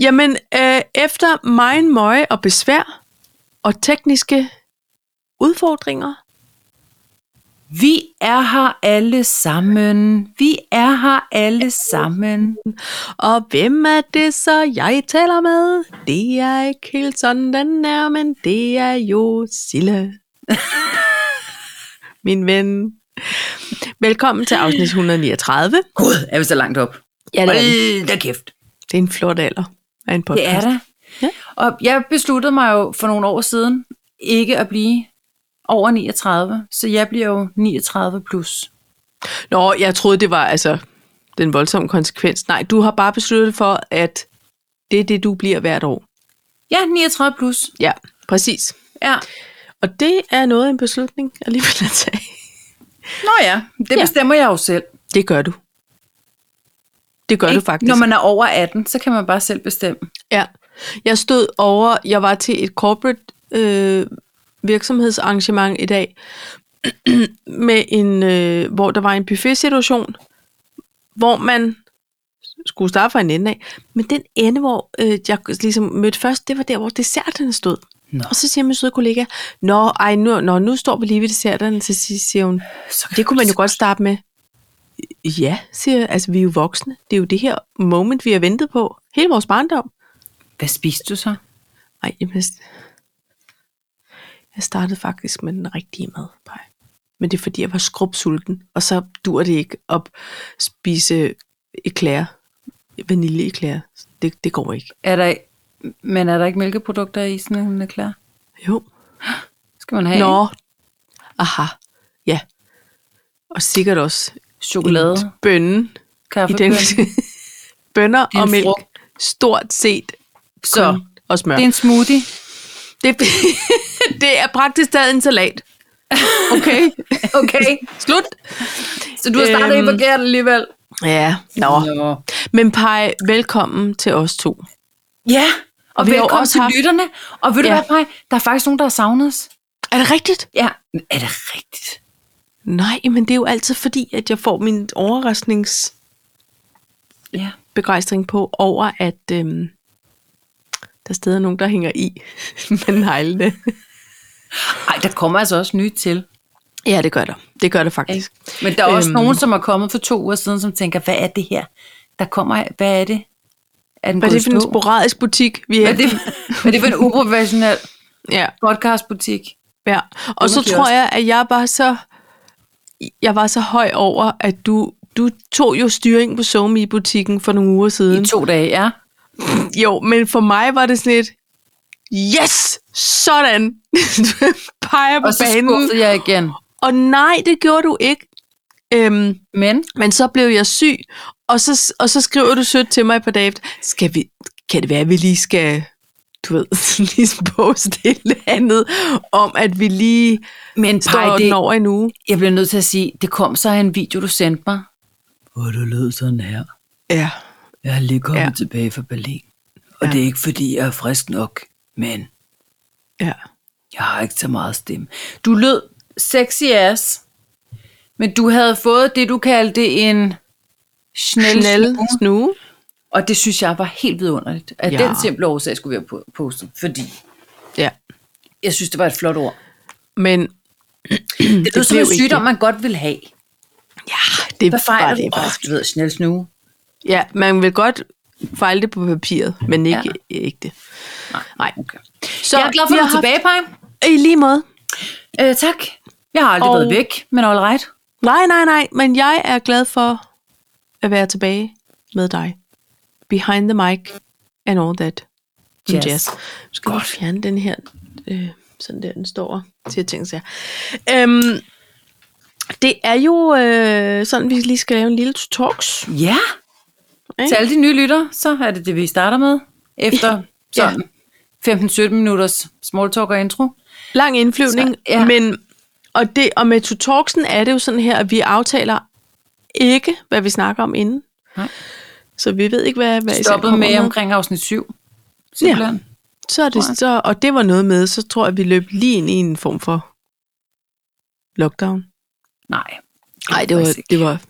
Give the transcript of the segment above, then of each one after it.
Jamen, øh, efter meget møje og besvær og tekniske udfordringer, Vi er her alle sammen. Vi er her alle sammen. og hvem er det så, jeg taler med? Det er ikke helt sådan, den er, men det er jo Sille. Min ven. Velkommen til afsnit 139. Gud, er vi så langt op? Ja, Hold da kæft. Det er en flot alder af en Det podcast. er der. Ja. Og jeg besluttede mig jo for nogle år siden ikke at blive over 39, så jeg bliver jo 39 plus. Nå, jeg troede, det var altså den voldsomme konsekvens. Nej, du har bare besluttet for, at det er det, du bliver hvert år. Ja, 39 plus. Ja, præcis. Ja. Og det er noget af en beslutning alligevel at tage. Nå ja, det Ja. bestemmer jeg jo selv. Det gør du. Det gør du Ikke? faktisk. Når man er over 18, så kan man bare selv bestemme. Ja. Jeg stod over, jeg var til et corporate øh, virksomhedsarrangement i dag, med en, øh, hvor der var en buffet-situation, hvor man skulle starte fra en ende af, men den ende, hvor øh, jeg ligesom mødte først, det var der, hvor desserterne stod. Nå. Og så siger min søde kollega, Nå, ej, nu, nå, nu står vi lige ved desserterne, så siger- siger hun, Så kan det kunne man jo så- godt starte med. Ja, siger jeg. Altså, vi er jo voksne. Det er jo det her moment, vi har ventet på. Hele vores barndom. Hvad spiste du så? Ej, jamen, jeg, jeg startede faktisk med den rigtige mad. Paj. Men det er fordi, jeg var skrubsulten, og så dur det ikke at spise eklære, vaniljeeklære. Det, det går ikke. Er der, men er der ikke mælkeprodukter i sådan en klar? Jo. Skal man have Hey. ikke? Nå. Aha. Ja. Og sikkert også chokolade, en bønne i kaffe, den. Bønner er og en mælk. frugt. Stort set Så kun og smør. det er en smoothie. det, det er praktisk taget en salat. Okay. Okay, Slut. så du har startet Øhm, øhm, i forkert alligevel. Ja, nå. Men Paj, velkommen til os to. Ja, og Vi vi har jo velkommen også til haft- lytterne. Og ved du Ja. hvad, Paj? Der er faktisk nogen, der har savnet os. Er det rigtigt? Ja, er det rigtigt? Nej, men det er jo altid fordi, at jeg får min overraskningsbegejstring Ja. på over, at øhm, der er stadig nogen, der hænger i med neglene. Ej, der kommer altså også nye til. Ja, det gør der. Det gør der faktisk. Men der er også Øhm. øhm. nogen, som er kommet for to uger siden, som tænker, hvad er det her? Der kommer, hvad er det? Er den Hvad er det gået for en i stå? sporadisk butik, vi er? Hvad er det, hvad er det for en uprofessionel Ja. podcastbutik? Ja, og så Underkiosk. tror jeg, at jeg var så, jeg var så høj over, at du, du tog jo styring på Zoom i butikken for nogle uger I siden. to dage, ja. Jo, men for mig var det sådan et, yes, sådan, du peger på Og så banen. skuffede jeg igen. Og nej, det gjorde du ikke. Øhm, Men men så blev jeg syg, og så, og så skriver du sødt til mig på dag efter, skal vi, kan det være, at vi lige skal, du ved, ligesom poste et eller andet, om at vi lige Men står Ej, den over en uge. jeg bliver nødt til at sige, det kom så af en video, du sendte mig. Og du lød sådan her. Ja. Jeg er lige kommet Ja. tilbage fra Berlin. Og Ja. det er ikke, fordi jeg er frisk nok, men Ja. jeg har ikke så meget stemme. Du lød sexy ass, men du havde fået det, du kaldte en snel, Snelle snue. Og det synes jeg var helt vidunderligt. At Ja. ja. den simple årsag skulle vi have po- postet, fordi Ja. jeg synes, det var et flot ord. Men Det, det er som blev en ikke sygdom, Mm, det. man godt vil have. ja, det Hvad var fejler du? det Åh, faktisk. du ved, snel snue. Ja, man vil godt fejle det på papiret, men ikke, ja. ikke det. Nej. Nej. Okay. Så jeg er glad for, vi at du har er tilbage, Paj. haft- I lige måde. Øh, tak. Jeg har aldrig Og- og... været væk, men all right. Nej, nej, nej, men jeg er glad for at være tilbage med dig. Behind the mic and all that. Jazz. Jazz. jazz. Nu Skal vi Godt. fjerne den her, øh, sådan der, den står og siger ting, så øhm, det er jo øh, sådan, vi lige skal lave en lille talks. Ja. Ikke? Til alle de nye lytter, så er det det, vi starter med. Efter sådan 15-17 minutters small talk og intro. Lang indflyvning, Så, ja. men og, det, og med to talksen er det jo sådan her, at vi aftaler ikke, hvad vi snakker om inden. Nej. Så vi ved ikke, hvad, hvad I selv Stoppet kommer med omkring afsnit 7. Simpelthen. Ja. Så er det, tror jeg. så, og det var noget med, så tror jeg, at vi løb lige ind i en form for lockdown. Nej. Nej, det var, faktisk ikke. det var,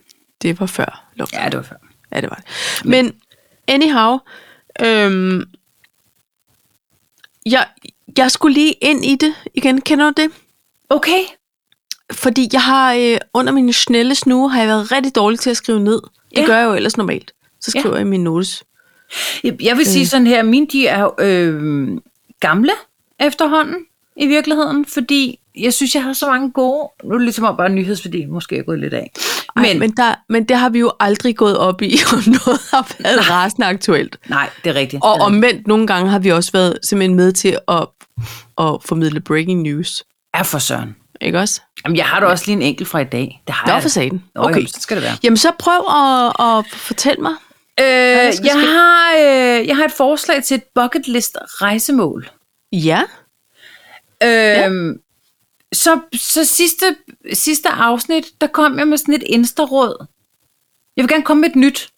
det var før lockdown. Ja, det var før. Ja, det var det. Men anyhow, Øhm, jeg, jeg skulle lige ind i det igen. Kender du det? Okay. Fordi jeg har øh, under mine snelle snue, har jeg været rigtig dårlig til at skrive ned. Det Ja. gør jeg jo ellers normalt. Så Ja. skriver jeg i mine notes. Jeg, jeg vil sige sådan her, mine de er jo, øh, gamle efterhånden i virkeligheden, fordi jeg synes, jeg har så mange gode... Nu er det ligesom om bare nyhedsværdi, måske er jeg gået lidt af. Ej, men, men, men, der, men det har vi jo aldrig gået op i, om noget har været rasende aktuelt. nej, det er rigtigt. Og omvendt nogle gange har vi også været simpelthen med til at, at formidle breaking news. er for søren. Ikke også? Jamen, jeg har da også lige en enkelt fra i dag. Det har Nå, jeg. for satan. Nå, okay. Okay. Jamen, så skal det være. Jamen så prøv at, at fortælle mig. der Øh, skal ske? jeg, har, øh, jeg har et forslag til et bucket list rejsemål. Ja. Øhm, Så, så sidste, sidste afsnit, der kom jeg med sådan et insta-råd. Jeg vil gerne komme med et nyt.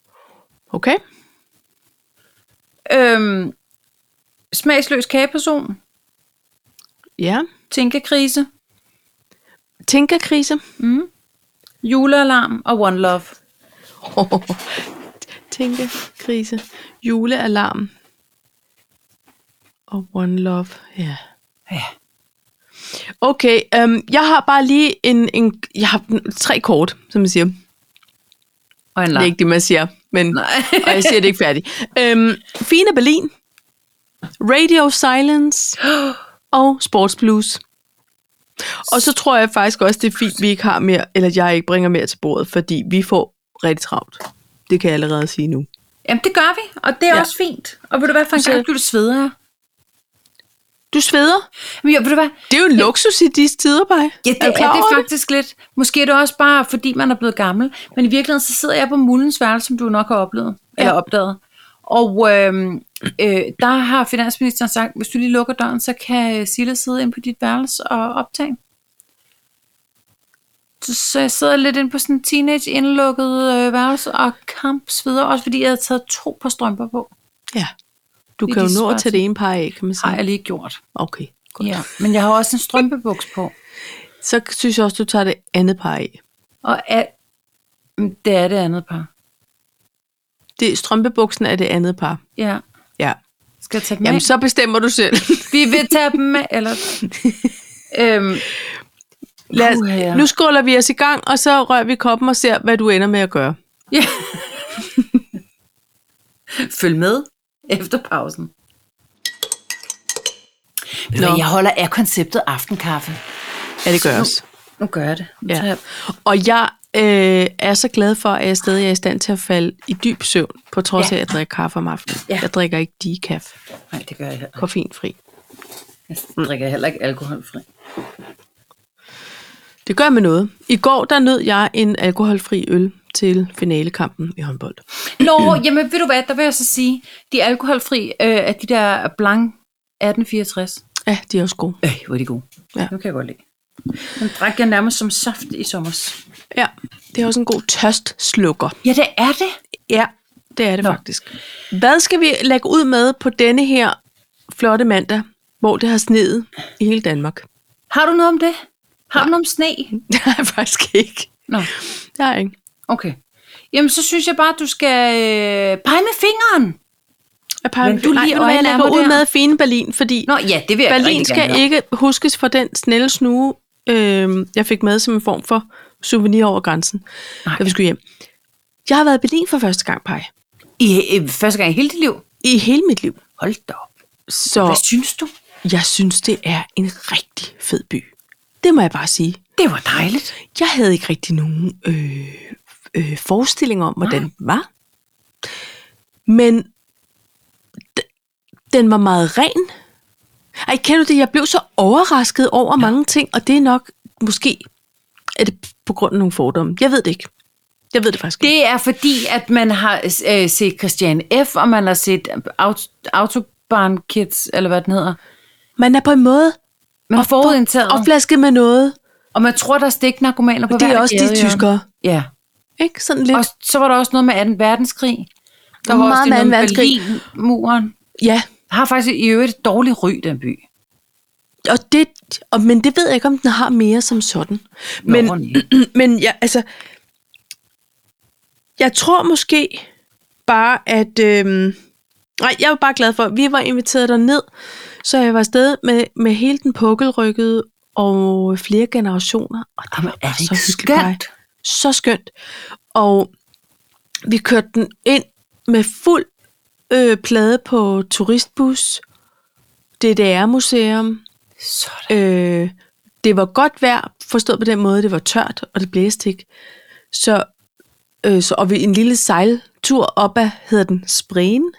Okay. Øhm, smagsløs kageperson, Ja. tænkekrise, Tænkerkrise. julealarm og one love. Tænkekrise. Julealarm. Og One Love. Ja. Ja. Okay. Øhm, jeg har bare lige en, en... Jeg har tre kort, som man siger. Og en Det er lang. ikke det, man siger. Men, Nej. og jeg siger det ikke færdigt. Øhm, Fina Berlin. Radio Silence. Og Sports Blues. Og så tror jeg faktisk også, det er fint, vi ikke har mere, eller jeg ikke bringer mere til bordet, fordi vi får rigtig travlt. Det kan jeg allerede sige nu. Jamen, det gør vi, og det er Ja. ja. også fint. Og vil du være for en Så- gang, du sveder jeg. Du sveder. Men jeg, vil du være, Det er jo en luksus i disse tider, Paj. Ja, det du er, klar er det over faktisk lidt. Måske er det også bare, fordi man er blevet gammel. Men i virkeligheden, så sidder jeg på Mullens værelse, som du nok har oplevet, ja. eller opdaget. Og øhm, øh, der har finansministeren sagt, hvis du lige lukker døren, så kan Silla sidde ind på dit værelse og optage. Så, så jeg sidder lidt inde på sådan en teenage indlukket øh, værelse og kamp sveder, også fordi jeg havde taget to par strømper på. Ja. Du Det er kan jo de nå at tage spørgsmål. det ene par af, kan man sige. Har jeg lige gjort. Okay. Godt. Ja, men jeg har også en strømpebuks på. Så synes jeg også, du tager det andet par af. Og al... Men Det er det andet par. Det, strømpebuksen er det andet par. Ja. Ja. Skal jeg tage dem Jamen, af? så bestemmer du selv. Vi vil tage dem af, eller... øhm, Lad os, Puha. nu skåler vi os i gang, og så rører vi koppen og ser, hvad du ender med at gøre. ja. Følg med efter pausen. Nå. Nå. Jeg holder af konceptet aftenkaffe. Ja, det gør jeg også. Nu gør jeg det. Nu Ja. tager jeg- Og jeg øh, er så glad for, at jeg stadig er i stand til at falde i dyb søvn, på trods Ja. af, at jeg drikker kaffe om aftenen. Ja. Jeg drikker ikke decaf, Nej, det gør jeg heller koffeinfri. ikke. Jeg drikker heller ikke alkoholfri. Det gør med noget. I går, der nød jeg en alkoholfri øl til finalekampen i håndbold. Nå, jamen ved du hvad, der vil jeg så sige, de alkoholfri øh, er de der Blanc 1864. Ja, de er også gode. Øh, hvor er de gode. Ja. Nu kan jeg godt lide. Den drak jeg nærmest som saft i sommer. Ja, det er også en god tørstslukker. Ja, det er det. Ja, det er det Nå. Nå. faktisk. Hvad skal vi lægge ud med på denne her flotte mandag, hvor det har sneet i hele Danmark? Har du noget om det? Har du noget om sne? Det har jeg faktisk ikke. Nå, Det har jeg ikke. okay. Jamen, så synes jeg bare, at du skal øh, pege med fingeren. Jeg peger Men med- du Nej, lige ved du hvad, jeg øjnene af lægger mig ud der. med fine Berlin, fordi Nå, ja, det vil jeg Berlin rigtig gerne skal høre. ikke huskes for den snelle snue, øh, jeg fik med som en form for souvenir over grænsen, Nej. da vi skulle hjem. Jeg har været i Berlin for første gang, Paj. I, øh, første gang i hele dit liv. I hele mit liv. Hold da op. Så Hvad synes du? jeg synes, det er en rigtig fed by. Det må jeg bare sige. Det var dejligt. Jeg havde ikke rigtig nogen øh, øh, forestilling om, hvordan den var. Men d- den var meget ren. Ej, kender du det? Jeg blev så overrasket over ja. mange ting, og det er nok måske er det på grund af nogle fordomme. Jeg ved det ikke. Jeg ved det faktisk ikke. Det er fordi, at man har øh, set Christiane F., og man har set Aut- Autobahn Kids, eller hvad den hedder. Man er på en måde Man er forudindtaget, opflasket med noget. og man tror, der er stiknarkomaner på Det hver er også de gadehjørne. tyskere. Ja. Ikke? Sådan lidt. Og så var der også noget med 2. verdenskrig. Der var Meget også det med noget 2. med verdenskrig. Berlinmuren. Ja, har faktisk i øvrigt et dårligt ry, den by. og det, og, men det ved jeg ikke, om den har mere som sådan. Men, nej. men jeg, altså, jeg tror måske bare, at øhm, Nej, jeg var bare glad for, at vi var inviteret derned, så jeg var afsted med, med hele den pukkelrykkede og flere generationer. Og det Jamen, var er bare det ikke så hyggeligt, skønt? Maja. Så skønt. Og vi kørte den ind med fuld øh, plade på turistbus, DDR-museum. Sådan. Øh, det var godt vejr, forstået på den måde, det var tørt, og det blæste ikke. Så, øh, så og vi en lille sejltur op ad, hedder den Spreen.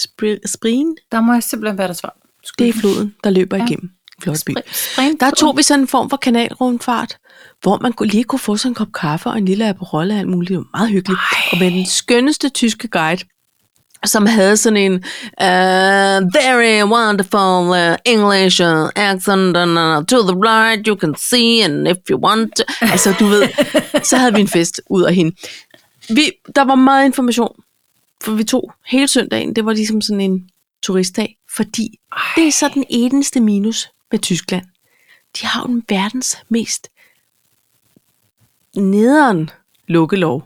Spre- Spreen, Der må jeg simpelthen være der svar. det er floden, der løber ja. igennem Flot by. Der tog vi sådan en form for kanalrundfart, hvor man kunne- lige kunne få sådan en kop kaffe og en lille aperol og alt muligt. Det var meget hyggeligt. Ej. Og med den skønneste tyske guide, som havde sådan en uh, very wonderful uh, English uh, accent and uh, to the right you can see and if you want to. Altså du ved, så havde vi en fest ud af hende. Vi, der var meget information, for vi tog hele søndagen. Det var ligesom sådan en turistdag, fordi Ej. det er så den eneste minus ved Tyskland. De har jo den verdens mest nederen lukkelov.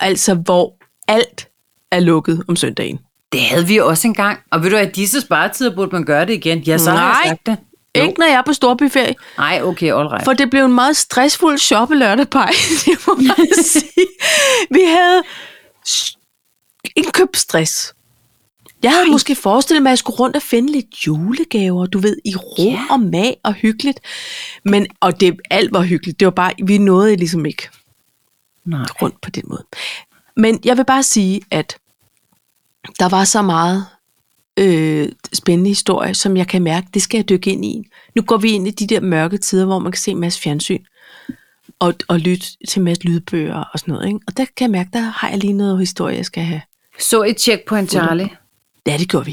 Altså, hvor alt er lukket om søndagen. Det havde vi også engang. Og ved du, at disse sparetider burde man gøre det igen. Ja, så har jeg Nej. sagt det. Jo. Ikke når jeg er på storbyferie, Nej, okay, all right. for det blev en meget stressfuld shoppe lørdag på. Det må man sige. Vi havde s- indkøbsstress. Jeg havde måske forestillet mig, at jeg skulle rundt og finde lidt julegaver, du ved, i ro Ja. og mag og hyggeligt. Men, og det, alt var hyggeligt. Det var bare, vi nåede ligesom ikke. Nej. rundt på den måde. Men jeg vil bare sige, at der var så meget øh, spændende historie, som jeg kan mærke, det skal jeg dykke ind i. Nu går vi ind i de der mørke tider, hvor man kan se en masse fjernsyn og, og lytte til en masse lydbøger og sådan noget. Ikke? Og der kan jeg mærke, der har jeg lige noget historie, jeg skal have. Så et tjek på en Charlie. Ja, det gjorde vi.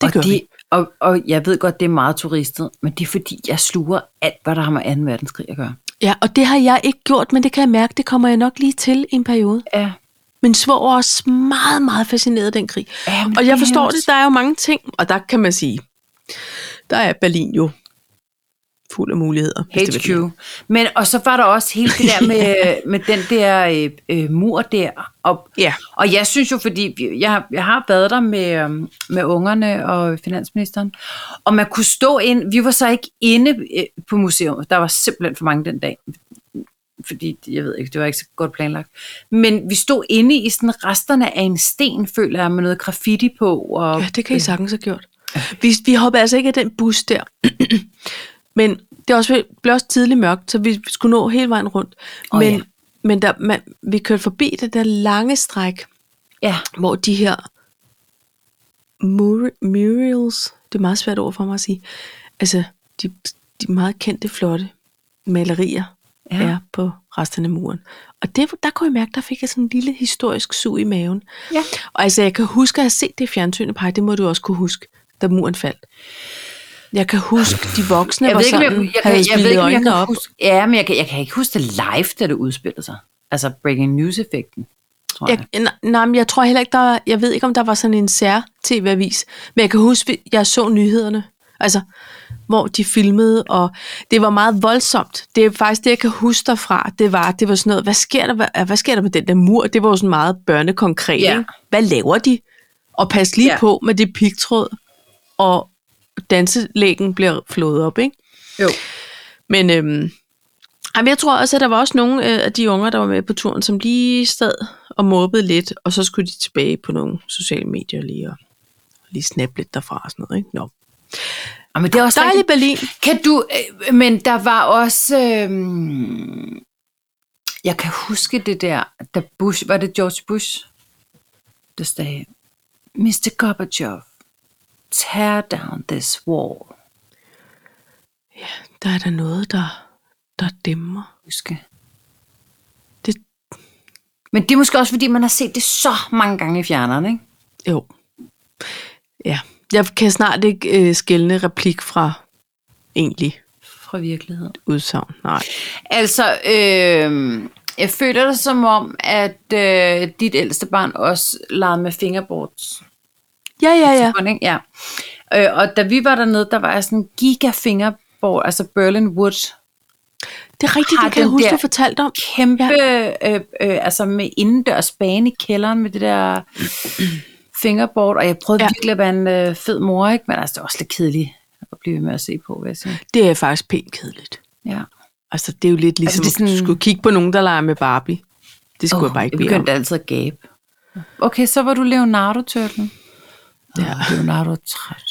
Det og, gjorde vi. og, og jeg ved godt, det er meget turistet, men det er fordi, jeg sluger alt, hvad der har med 2. verdenskrig at gøre. Ja, og det har jeg ikke gjort, men det kan jeg mærke, det kommer jeg nok lige til i en periode. Ja. Min svoger er også meget, meget fascineret af den krig. Ja, men og det jeg er forstår også- det, der er jo mange ting, og der kan man sige, der er Berlin jo fuld af muligheder. hvis det var det. HQ. Men, og så var der også hele det der med, med den der øh, øh, mur der. Og, Ja. og jeg synes jo, fordi vi- jeg, jeg har været der med, øhm, med ungerne og finansministeren, og man kunne stå ind, vi var så ikke inde øh, på museum, der var simpelthen for mange den dag, fordi jeg ved ikke, det var ikke så godt planlagt. Men vi stod inde i sådan resterne af en sten, føler jeg, med noget graffiti på. Og, Ja, det kan I sagtens have gjort. Vi, vi hopper altså ikke af den bus der. men det er også, blev også tidligt mørkt, så vi skulle nå hele vejen rundt. Åh, men ja. men der, man, vi kørte forbi det der lange stræk, Ja, hvor de her mur- murals, det er meget svært ord for mig at sige, altså de, de meget kendte, flotte malerier Ja. ja. er på resten af muren. Og det, der kunne jeg mærke, der fik jeg sådan en lille historisk sug i maven. Ja. Og altså, jeg kan huske at have set det i fjernsynet, Paj, det må du også kunne huske, da muren faldt. Jeg kan huske, de voksne jeg var ved ikke, om sådan, jeg, jeg, havde jeg, jeg, ved spillet ikke, om jeg øjnene kan op. huske, ja, men jeg kan, jeg kan ikke huske det live, da det udspillede sig. Altså breaking news-effekten, tror jeg. Jeg, nej, nej, men jeg tror heller ikke, der var, jeg ved ikke, om der var sådan en sær-tv-avis, men jeg kan huske, at jeg så nyhederne, altså, hvor de filmede, og det var meget voldsomt. Det er faktisk det, jeg kan huske derfra, det var, det var sådan noget, hvad sker der, hvad, hvad sker der med den der mur? Det var jo sådan meget børnekonkret, Ja. ja. Hvad laver de? Og pas lige Ja. ja. på med det pigtråd, og danselæggen bliver flået op, ikke? Jo. Men øhm, jamen, jeg tror også, at der var også nogle øh, af de unger, der var med på turen, som lige sad og mobbede lidt, og så skulle de tilbage på nogle sociale medier lige og lige snappe lidt derfra og sådan noget. Ikke? Nå. Og, men det er også Dejlig Berlin. Kan du, øh, men der var også, øh, jeg kan huske det der, da Bush, var det George Bush, der sagde, Mr. Gorbachev, tear down this wall. Der er der noget, der, der dæmmer. Huske. Det, Men det er måske også, fordi man har set det så mange gange i fjerneren, ikke? jo. Ja. Jeg kan snart ikke øh, skælne replik fra egentlig Fra virkeligheden. udsagn. Nej. Altså, øh, jeg føler det som om, at øh, dit ældste barn også legede med fingerboards. Ja, ja, ja. Sådan, ikke? ja. Øh, og da vi var dernede, der var jeg sådan en giga fingerboard, altså Berlin Wood, Det er rigtigt, Har det kan jeg den huske, der du fortalte om. kæmpe, ja. øh, øh, altså med indendørs bane i kælderen, med det der fingerboard, og jeg prøvede Ja. ja. virkelig at være en øh, fed mor, ikke? men altså, det er også lidt kedeligt at blive ved med at se på, vil jeg sige. Det er faktisk pænt kedeligt. Ja. Altså, det er jo lidt ligesom, det er altså, sådan... at sådan- du skulle kigge på nogen, der leger med Barbie. Det skulle oh, jeg bare ikke Jeg bede om. begyndte altid at gabe. Okay, så var du Leonardo-tørtlen. Ja. Oh, Leonardo er træt.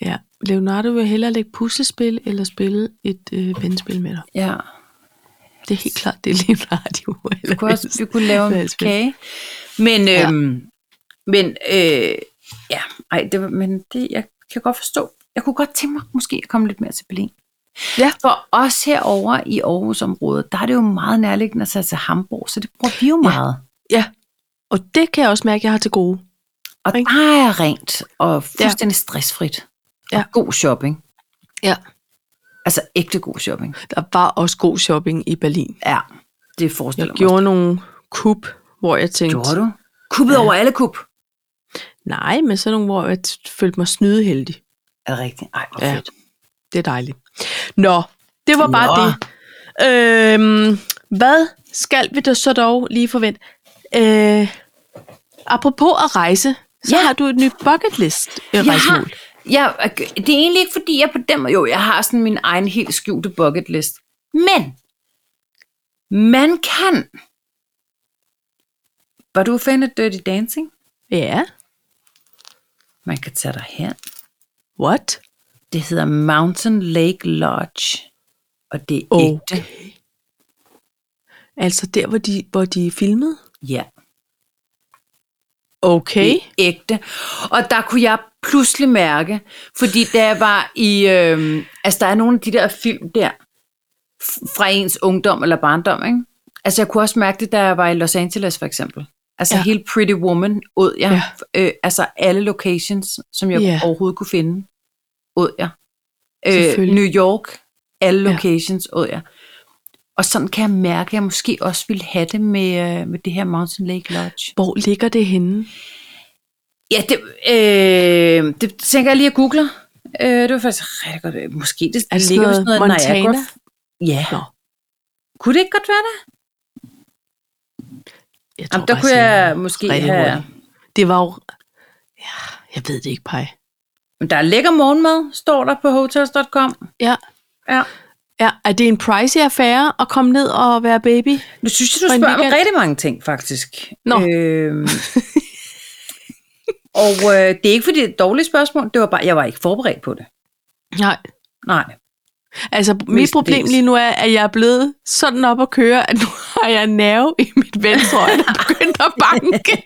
Ja. Leonardo vil hellere lægge puslespil, eller spille et øh, vendespil med dig. Ja. Det er helt klart, det er Leonardo. Vi kunne, også, vi kunne lave en Valgspil. kage. Men, Ja. øhm, men øh, ja, ej, det, var- men det, jeg kan godt forstå. Jeg kunne godt tænke mig måske at komme lidt mere til Berlin. Ja. For os herover i Aarhusområdet, der er det jo meget nærliggende at tage til Hamburg, så det bruger vi jo Ja. meget. Ja, og det kan jeg også mærke, at jeg har til gode. Og Ikke? der er rent og fuldstændig stressfrit. Ja. Og god shopping. Ja. Altså ægte god shopping. Der var også god shopping i Berlin. Ja, det Jeg forestiller mig. gjorde nogle kup, hvor jeg tænkte, Gjorde du? Kuppet Ja. ja. over alle kup. nej, men sådan nogle, hvor jeg t- følte mig snydeheldig. Er det rigtigt? Ej, hvor Ja. ja. fedt. Det er dejligt. Nå, det var bare Nå. det. Øhm, hvad skal vi da så dog lige forvente? Øh, apropos at rejse, så Ja. har du et nyt bucket list øh, Jeg har, rejsemål. jeg, det er egentlig ikke, fordi jeg på den måde... Jo, jeg har sådan min egen helt skjulte bucket list. Men man kan... Var du fan af Dirty Dancing? Ja, Man kan tage dig her. what? Det hedder Mountain Lake Lodge. Og det er Okay. ægte. Altså der, hvor de, hvor de filmede? Ja, Okay. ægte. Og der kunne jeg pludselig mærke, fordi da jeg var i... Øh, altså, der er nogle af de der film der, f- fra ens ungdom eller barndom, ikke? Altså, jeg kunne også mærke det, da jeg var i Los Angeles, for eksempel. Altså, Ja. ja. hele Pretty Woman åd jeg. Ja. Øh, altså, alle locations, som jeg Ja. yeah. overhovedet kunne finde, åd jeg. Øh, Selvfølgelig. New York, alle Ja. locations åd jeg. Og sådan kan jeg mærke, at jeg måske også ville have det med, øh, med det her Mountain Lake Lodge. Hvor ligger det henne? Ja, det, øh, det tænker jeg lige at google. Øh, det var faktisk rigtig godt. Øh, Måske det, Er det sådan ligger ved sådan noget noget Montana? Niagara. Ja. Nå. Kunne det ikke godt være det? Jeg Jamen, der bare, kunne sådan jeg noget måske rigtig have- hurtigt. Det var jo... Ja, jeg ved det ikke, Paj. Men der er lækker morgenmad, står der på hotels.com. Ja. Ja. ja. Er det en pricey affære at komme ned og være baby? Nu synes jeg, du For en spørger mig weekend. rigtig mange ting, faktisk. Nå. Øhm, og øh, det er ikke, fordi det er et dårligt spørgsmål. Det var bare, jeg var ikke forberedt på det. Nej. Nej. Altså, mit Mestendels. problem lige nu er, at jeg er blevet sådan op at køre, at nu har jeg en nerve i mit venstre øje, der begynder at banke.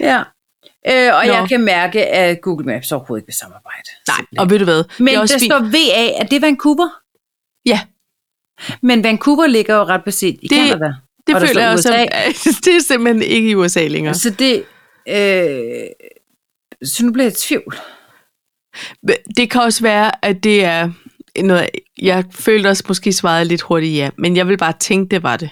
Ja. Øh, og Nå. Nå. jeg kan mærke, at Google Maps overhovedet ikke vil samarbejde. Nej, og ved du hvad? Men det er der også fint. står VA, er det Vancouver? Ja. Men Vancouver ligger jo ret beset i Det- Canada. Det og der føler står jeg også, USA. at det er simpelthen ikke i USA længere. Så det... Øh, så nu bliver jeg i tvivl. Men Det kan også være, at det er noget, jeg følte også måske svarede lidt hurtigt ja, men jeg vil bare tænke, det var det.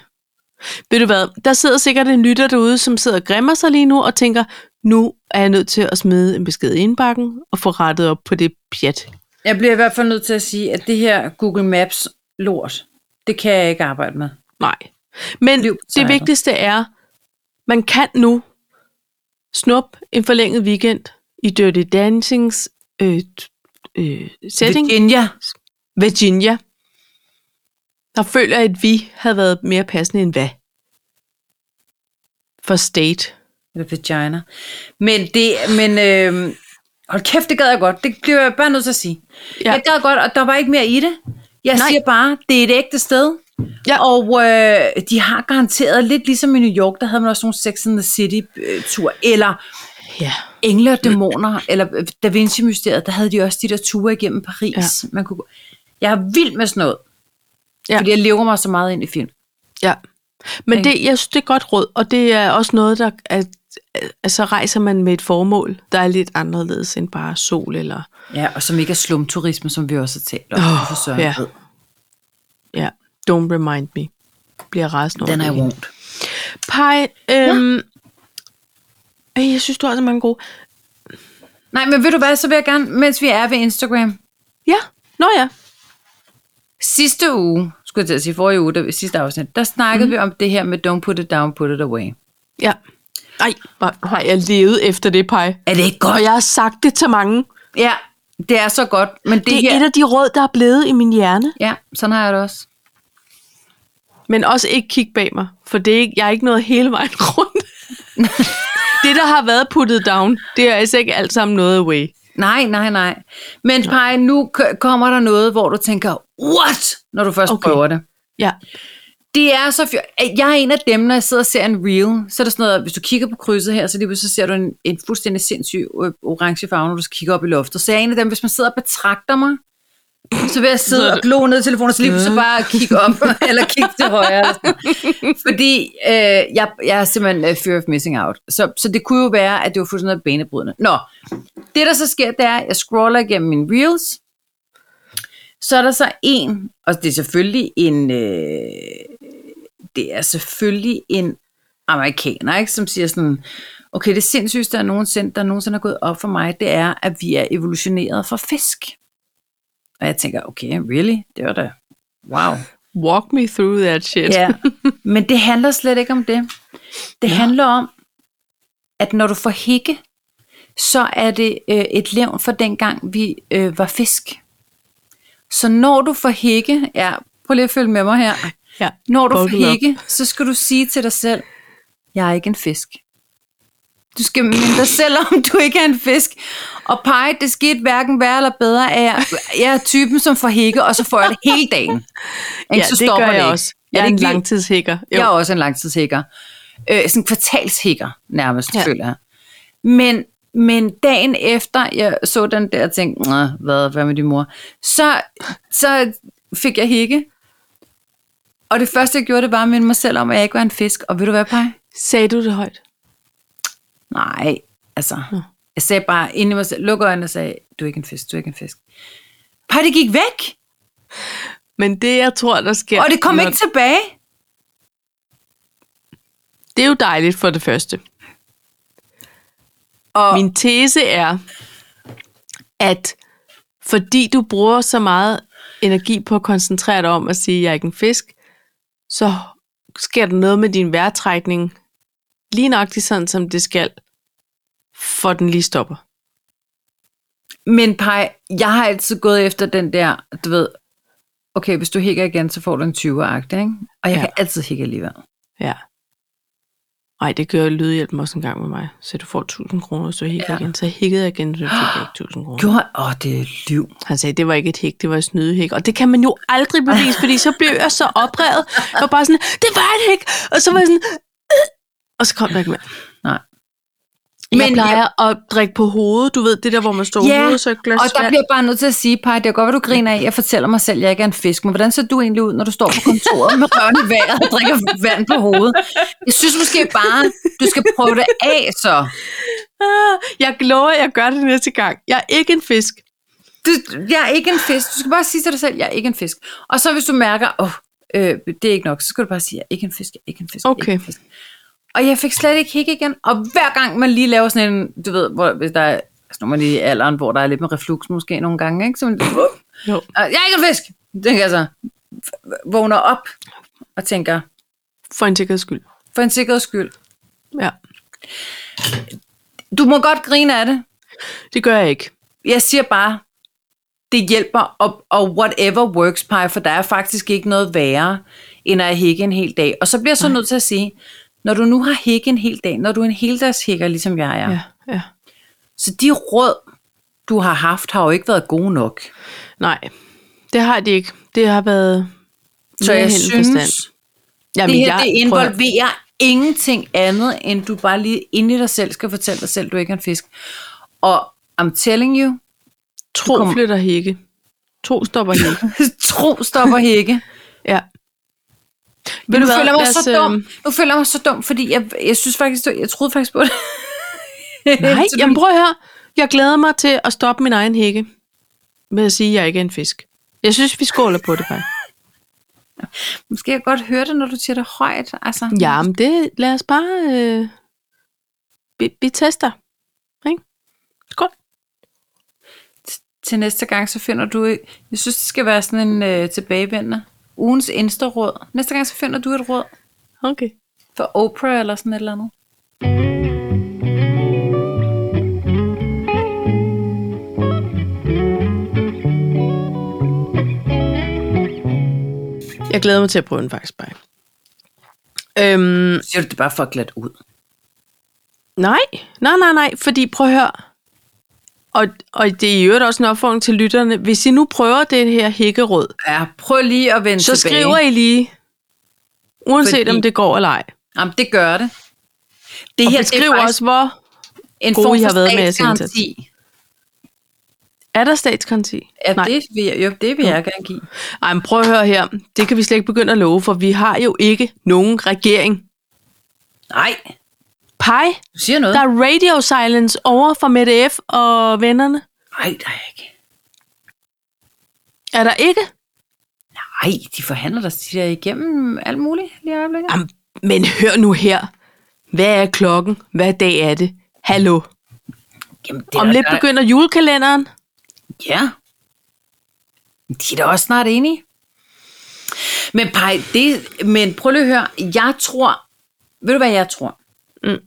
Ved du hvad, der sidder sikkert en lytter derude, som sidder og grimmer sig lige nu og tænker, nu er jeg nødt til at smide en besked i indbakken og få rettet op på det pjat. Jeg bliver i hvert fald nødt til at sige, at det her Google Maps lort, det kan jeg ikke arbejde med. Nej. Men Liv på det sejlet. vigtigste er, man kan nu snup en forlænget weekend i Dirty Dancings øh, t- øh, setting. Virginia. Virginia. Der føler jeg, at vi havde været mere passende end hvad? For state. Eller vagina. Men det... Men, øh, hold kæft, det gad jeg godt. Det bliver jeg bare nødt til at sige. Ja. Ja. Jeg gad godt, og der var ikke mere i det. Jeg Nej. Nej. siger bare, det er et ægte sted. Ja. Og øh, de har garanteret, lidt ligesom i New York, der havde man også nogle Sex and the City-tur, eller Ja. Engle og Dæmoner, eller øh, Da Vinci-mysteriet, der havde de også de der ture igennem Paris. Ja. Ja. Man kunne, gå- jeg er vild med sådan noget, Ja. ja. fordi jeg lever mig så meget ind i film. ja. Men Ikke? det, jeg synes, det er godt råd, og det er også noget, der at, at så rejser man med et formål, der er lidt anderledes end bare sol eller... Ja, og som ikke er slumturisme, som vi også har talt om. Åh, for Søren ja. ved. Ja, don't remind me. Bliver rasende over Den er det jeg hele. won't. Pej, øhm, ja. jeg synes, du har så mange gode. Nej, men ved du hvad, så vil jeg gerne, mens vi er ved Instagram, Ja, nå ja. Sidste uge, skulle jeg til at Mhm. sige forrige uge, der, sidste afsnit, der snakkede mm. vi om det her med don't put it down, put it away. Ja. Ej, hvor har jeg levet efter det, Paj. Er det ikke Og godt? jeg har sagt det til mange. Det, Ja, det er så godt. Men det, det er her... et af de råd, der er blevet i min hjerne. Ja, sådan har jeg det også. Men også ikke kigge bag mig, for det er ikke, jeg er ikke nået hele vejen rundt. det, der har været puttet down, det er altså ikke alt sammen noget away. Nej, nej, nej. Men Paj, nu k- kommer der noget, hvor du tænker, what? Når du først okay. Okay. prøver det. Ja, Det er så fjol. Jeg er en af dem, når jeg sidder og ser en reel, så er der sådan noget, hvis du kigger på krydset her, så lige pludselig ser du en, en fuldstændig sindssyg øh, orange farve, når du skal kigge op i loftet. Så jeg er en af dem, hvis man sidder og betragter mig, så vil jeg Så sidde er og glo ned i telefonen, og så lige pludselig bare kigge op, eller kigge til højre. Eller sådan. Fordi øh, jeg, jeg er simpelthen øh, fear of missing out. Så, så det kunne jo være, at det var fuldstændig noget banebrydende. Nå, det der så sker, det er, at jeg scroller igennem mine reels, så er der så en, og det er selvfølgelig en, øh, det er selvfølgelig en amerikaner, ikke, som siger sådan, okay, det sindssygste, der nogensinde, der nogensinde er gået op for mig, det er, at vi er evolutioneret fra fisk. Og jeg tænker, okay, really? Det var da, wow. walk me through that shit. Ja. Men det handler slet ikke om det. Det ja. handler om, at når du får hikke, så er det øh, et levn for dengang, vi øh, var fisk. Så når du får hikke, ja, prøv lige at følge med mig her. ja. Når du Buckle up. får hikke, så skal du sige til dig selv, jeg er ikke en fisk. Du skal minde dig selv om, du ikke er en fisk. Og pege, det skete hverken værre eller bedre, at jeg, jeg er typen, som får hikke, og så får jeg det hele dagen. Ikke? ja det så stopper gør jeg ikke. også. Er Jeg er, det en ikke vildt? langtidshækker. Jo. Jeg er også en langtidshækker. Øh, sådan en kvartalshækker nærmest, ja. føler jeg. Men, men dagen efter, jeg så den der og tænkte, "Nå, hvad, hvad med din mor? Så, så fik jeg hække. Og det første, jeg gjorde, det var at minde mig selv om, at jeg ikke var en fisk. Og ved du hvad, Paj? Sagde du det højt? Nej, altså. Jeg sagde bare ind i mig selv, luk øjnene og sagde, du er ikke en fisk, du er ikke en fisk. Pej, det gik væk, Men det, jeg tror, der sker... og det kom når- ikke tilbage. Det er jo dejligt for det første. Og Min tese er, at fordi du bruger så meget energi på at koncentrere dig om at sige, at jeg er ikke en fisk, så sker der noget med din vejrtrækning, lige nøjagtigt sådan, som det skal, for den lige stopper. Men Paj, jeg har altid gået efter den der, du ved, okay, hvis du hækker igen, så får du en 20-agtig, ikke? Og jeg ja. Ja. kan altid hække alligevel. Ja. Ej, det gør lydhjælpen også en gang med mig. Så du får 1000 kroner, så hikker Ja. ja. igen. Så hikkede jeg igen, så fik jeg ikke 1000 kroner. Gjorde Åh, oh, det er liv. Han sagde, det var ikke et hæk, det var et snydehæk. Og det kan man jo aldrig bevise, fordi så blev jeg så oprevet. Jeg var bare sådan, det var et hæk. Og så var jeg sådan, "Øh." og så kom der ikke mere. Nej. Men jeg Men plejer at drikke på hovedet, du ved, det der, hvor man står Ja, ja, hovedet, så et glas Og der vand. bliver jeg bare nødt til at sige, Paj, det er godt, hvad du griner af. Jeg fortæller mig selv, at jeg ikke er en fisk, men hvordan ser du egentlig ud, når du står på kontoret med røven i vejret og drikker vand på hovedet? Jeg synes måske bare, du skal prøve det af, så. Ah, Jeg lover, jeg gør det næste gang. Jeg er ikke en fisk. du, jeg er ikke en fisk. Du skal bare sige til dig selv, jeg er ikke en fisk. Og så hvis du mærker, åh, oh, øh, det er ikke nok, så skal du bare sige, jeg er ikke en fisk, jeg er ikke en fisk. jeg er Ikke Okay. en fisk. Og jeg fik slet ikke hik igen. Og hver gang man lige laver sådan en, du ved, hvor, hvis der er, altså når man er i alderen, hvor der er lidt med reflux måske nogle gange, ikke? Så man, uh, Jo. jeg er ikke en fisk. Tænker jeg så, vågner op og tænker, For en sikkerheds skyld. for en sikkerheds skyld, Ja, du må godt grine af det. det gør jeg ikke. Jeg siger bare, det hjælper, og, og whatever works, pie, for der er faktisk ikke noget værre, end at hække en hel dag. Og så bliver jeg så nødt til at sige, når du nu har hække en hel dag, når du er en heldagshækker, ligesom jeg er, ja. Ja, ja. så de råd, du har haft, har jo ikke været gode nok. Nej, det har de ikke. Det har været... Så jeg velhældende synes, forstand. Jamen, det her det prøv at- involverer ingenting andet, end du bare lige inde i dig selv skal fortælle dig selv, du ikke er en fisk. Og I'm telling you, Tro kommer- flytter hække. To stopper hække. tro stopper hække. Ja. Ved Men nu føler jeg mig Lad os, så øh, dum. Nu føler jeg mig så dum, fordi jeg, jeg synes faktisk, jeg troede faktisk på det. Nej, Så du- jamen prøv at høre. Jeg glæder mig til at stoppe min egen hække med at sige, at jeg ikke er en fisk. Jeg synes, vi skåler på det, bare. Måske jeg godt høre det, når du siger det højt. Altså. Jamen, det lad os bare... Øh, vi, vi tester. Ikke? Skål. Til næste gang, så finder du... Jeg synes, det skal være sådan en øh, tilbagevendende. Ugens insta-råd. Næste gang, så finder du et råd Okay. for Oprah eller sådan et eller andet. jeg glæder mig til at prøve den faktisk bare. Øhm, Så siger du det bare for glat ud. nej, nej, nej, nej, fordi prøv at høre. Og, og det er i øvrigt også en opfordring til lytterne. Hvis I nu prøver det her hækkeråd, Ja, prøv lige at vende så tilbage. skriver I lige, uanset Fordi- fordi... om det går eller ej. Jamen, det gør det. Det Og her det er beskriv faktisk også, hvor en gode, form I for har været med jeres statsgaranti. er der statsgaranti? Ja, Nej. det vil jeg, jo, det vil jeg gerne give. Ej, men prøv at høre her. Det kan vi slet ikke begynde at love, for vi har jo ikke nogen regering. Nej, Pej, du siger noget. der er radio silence over for Mette F. og vennerne. Nej, der er ikke. Er der ikke? Nej, de forhandler dig de der igennem alt muligt lige i øjeblikket. Jamen, men hør nu her. Hvad er klokken? Hvad dag er det? Hallo. Jamen, det Om er lidt der, begynder julekalenderen. Ja. De er da også snart enige. Men pej, det, men prøv lige at høre. Jeg tror, ved du hvad jeg tror? Mm.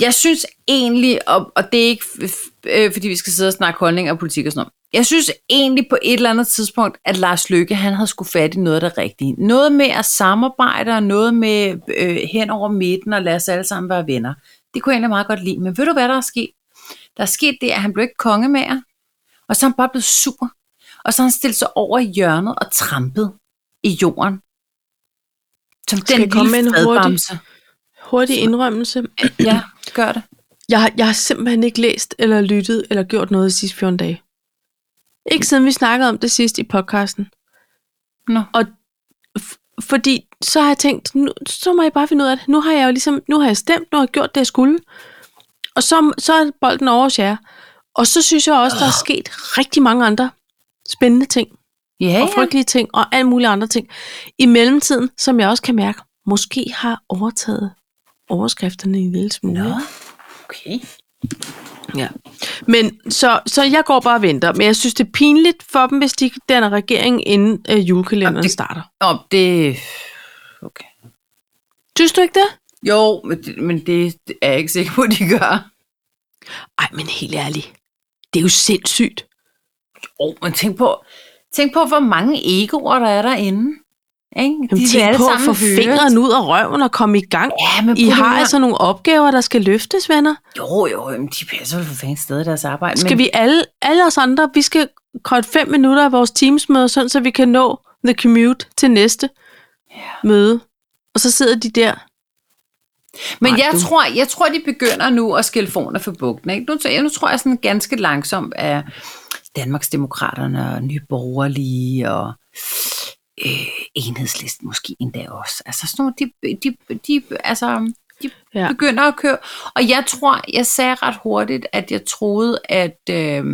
Jeg synes egentlig, og, og det er ikke f- f- øh, fordi vi skal sidde og snakke holdning og politik og sådan noget. Jeg synes egentlig på et eller andet tidspunkt, at Lars Løkke, han havde skulle fat i noget af det rigtige. Noget med at samarbejde og noget med øh, hen over midten og lade os alle sammen være venner. Det kunne jeg egentlig meget godt lide. Men ved du hvad der er sket? Der er sket det, at han blev ikke kongemager, og så er han bare blevet sur. Og så har han stillet sig over i hjørnet og trampet i jorden. Som Skal den jeg komme med lille en hurtig- fredbamse. Hurtig indrømmelse. Ja, gør det. Jeg har, jeg har simpelthen ikke læst eller lyttet eller gjort noget de sidste 14 dage. Ikke siden vi snakkede om det sidst i podcasten. Nå. F- fordi så har jeg tænkt, nu, så må jeg bare finde ud af det. Nu har jeg jo ligesom, nu har jeg stemt, nu har jeg gjort det, jeg skulle. Og så, så er bolden over hos jer. Og så synes jeg også, der er sket rigtig mange andre spændende ting, Ja, og frygtelige ting, og alle mulige andre ting. I mellemtiden, som jeg også kan mærke, måske har overtaget overskrifterne en lille smule. Nå, ikke? okay. Ja. Men så, så jeg går bare og venter. Men jeg synes, det er pinligt for dem, hvis de danner regeringen, inden øh, Jamen, julekalenderen det- starter. Nå, det... Okay. Synes du ikke det? Jo, men det, men det er jeg ikke sikker på, at de gør. Ej, men helt ærligt. Det er jo sindssygt. Jo, men tænk på, tænk på, hvor mange egoer der er derinde. Ikke? Jamen, vil tænk alle på at sammen få høre. fingeren ud af røven og komme i gang. Ja, men I prøv lige har at- altså nogle opgaver, der skal løftes, venner. Jo, jo, jamen, de passer vel for fanden stadig deres arbejde. Skal vi alle, alle os andre, vi skal kort fem minutter af vores teamsmøde, sådan så vi kan nå the commute til næste møde. Og så sidder de der. Men Nej, jeg du- tror, jeg tror, de begynder nu at skille forne for bugten. Ikke? Nu, t- nu tror jeg sådan ganske langsomt, at Danmarksdemokraterne og Nye Borgerlige og øh, enhedslisten måske endda også. Altså sådan nogle, de, de, de, altså, de ja. Ja. begynder at køre. Og jeg tror, jeg sagde ret hurtigt, at jeg troede, at øh,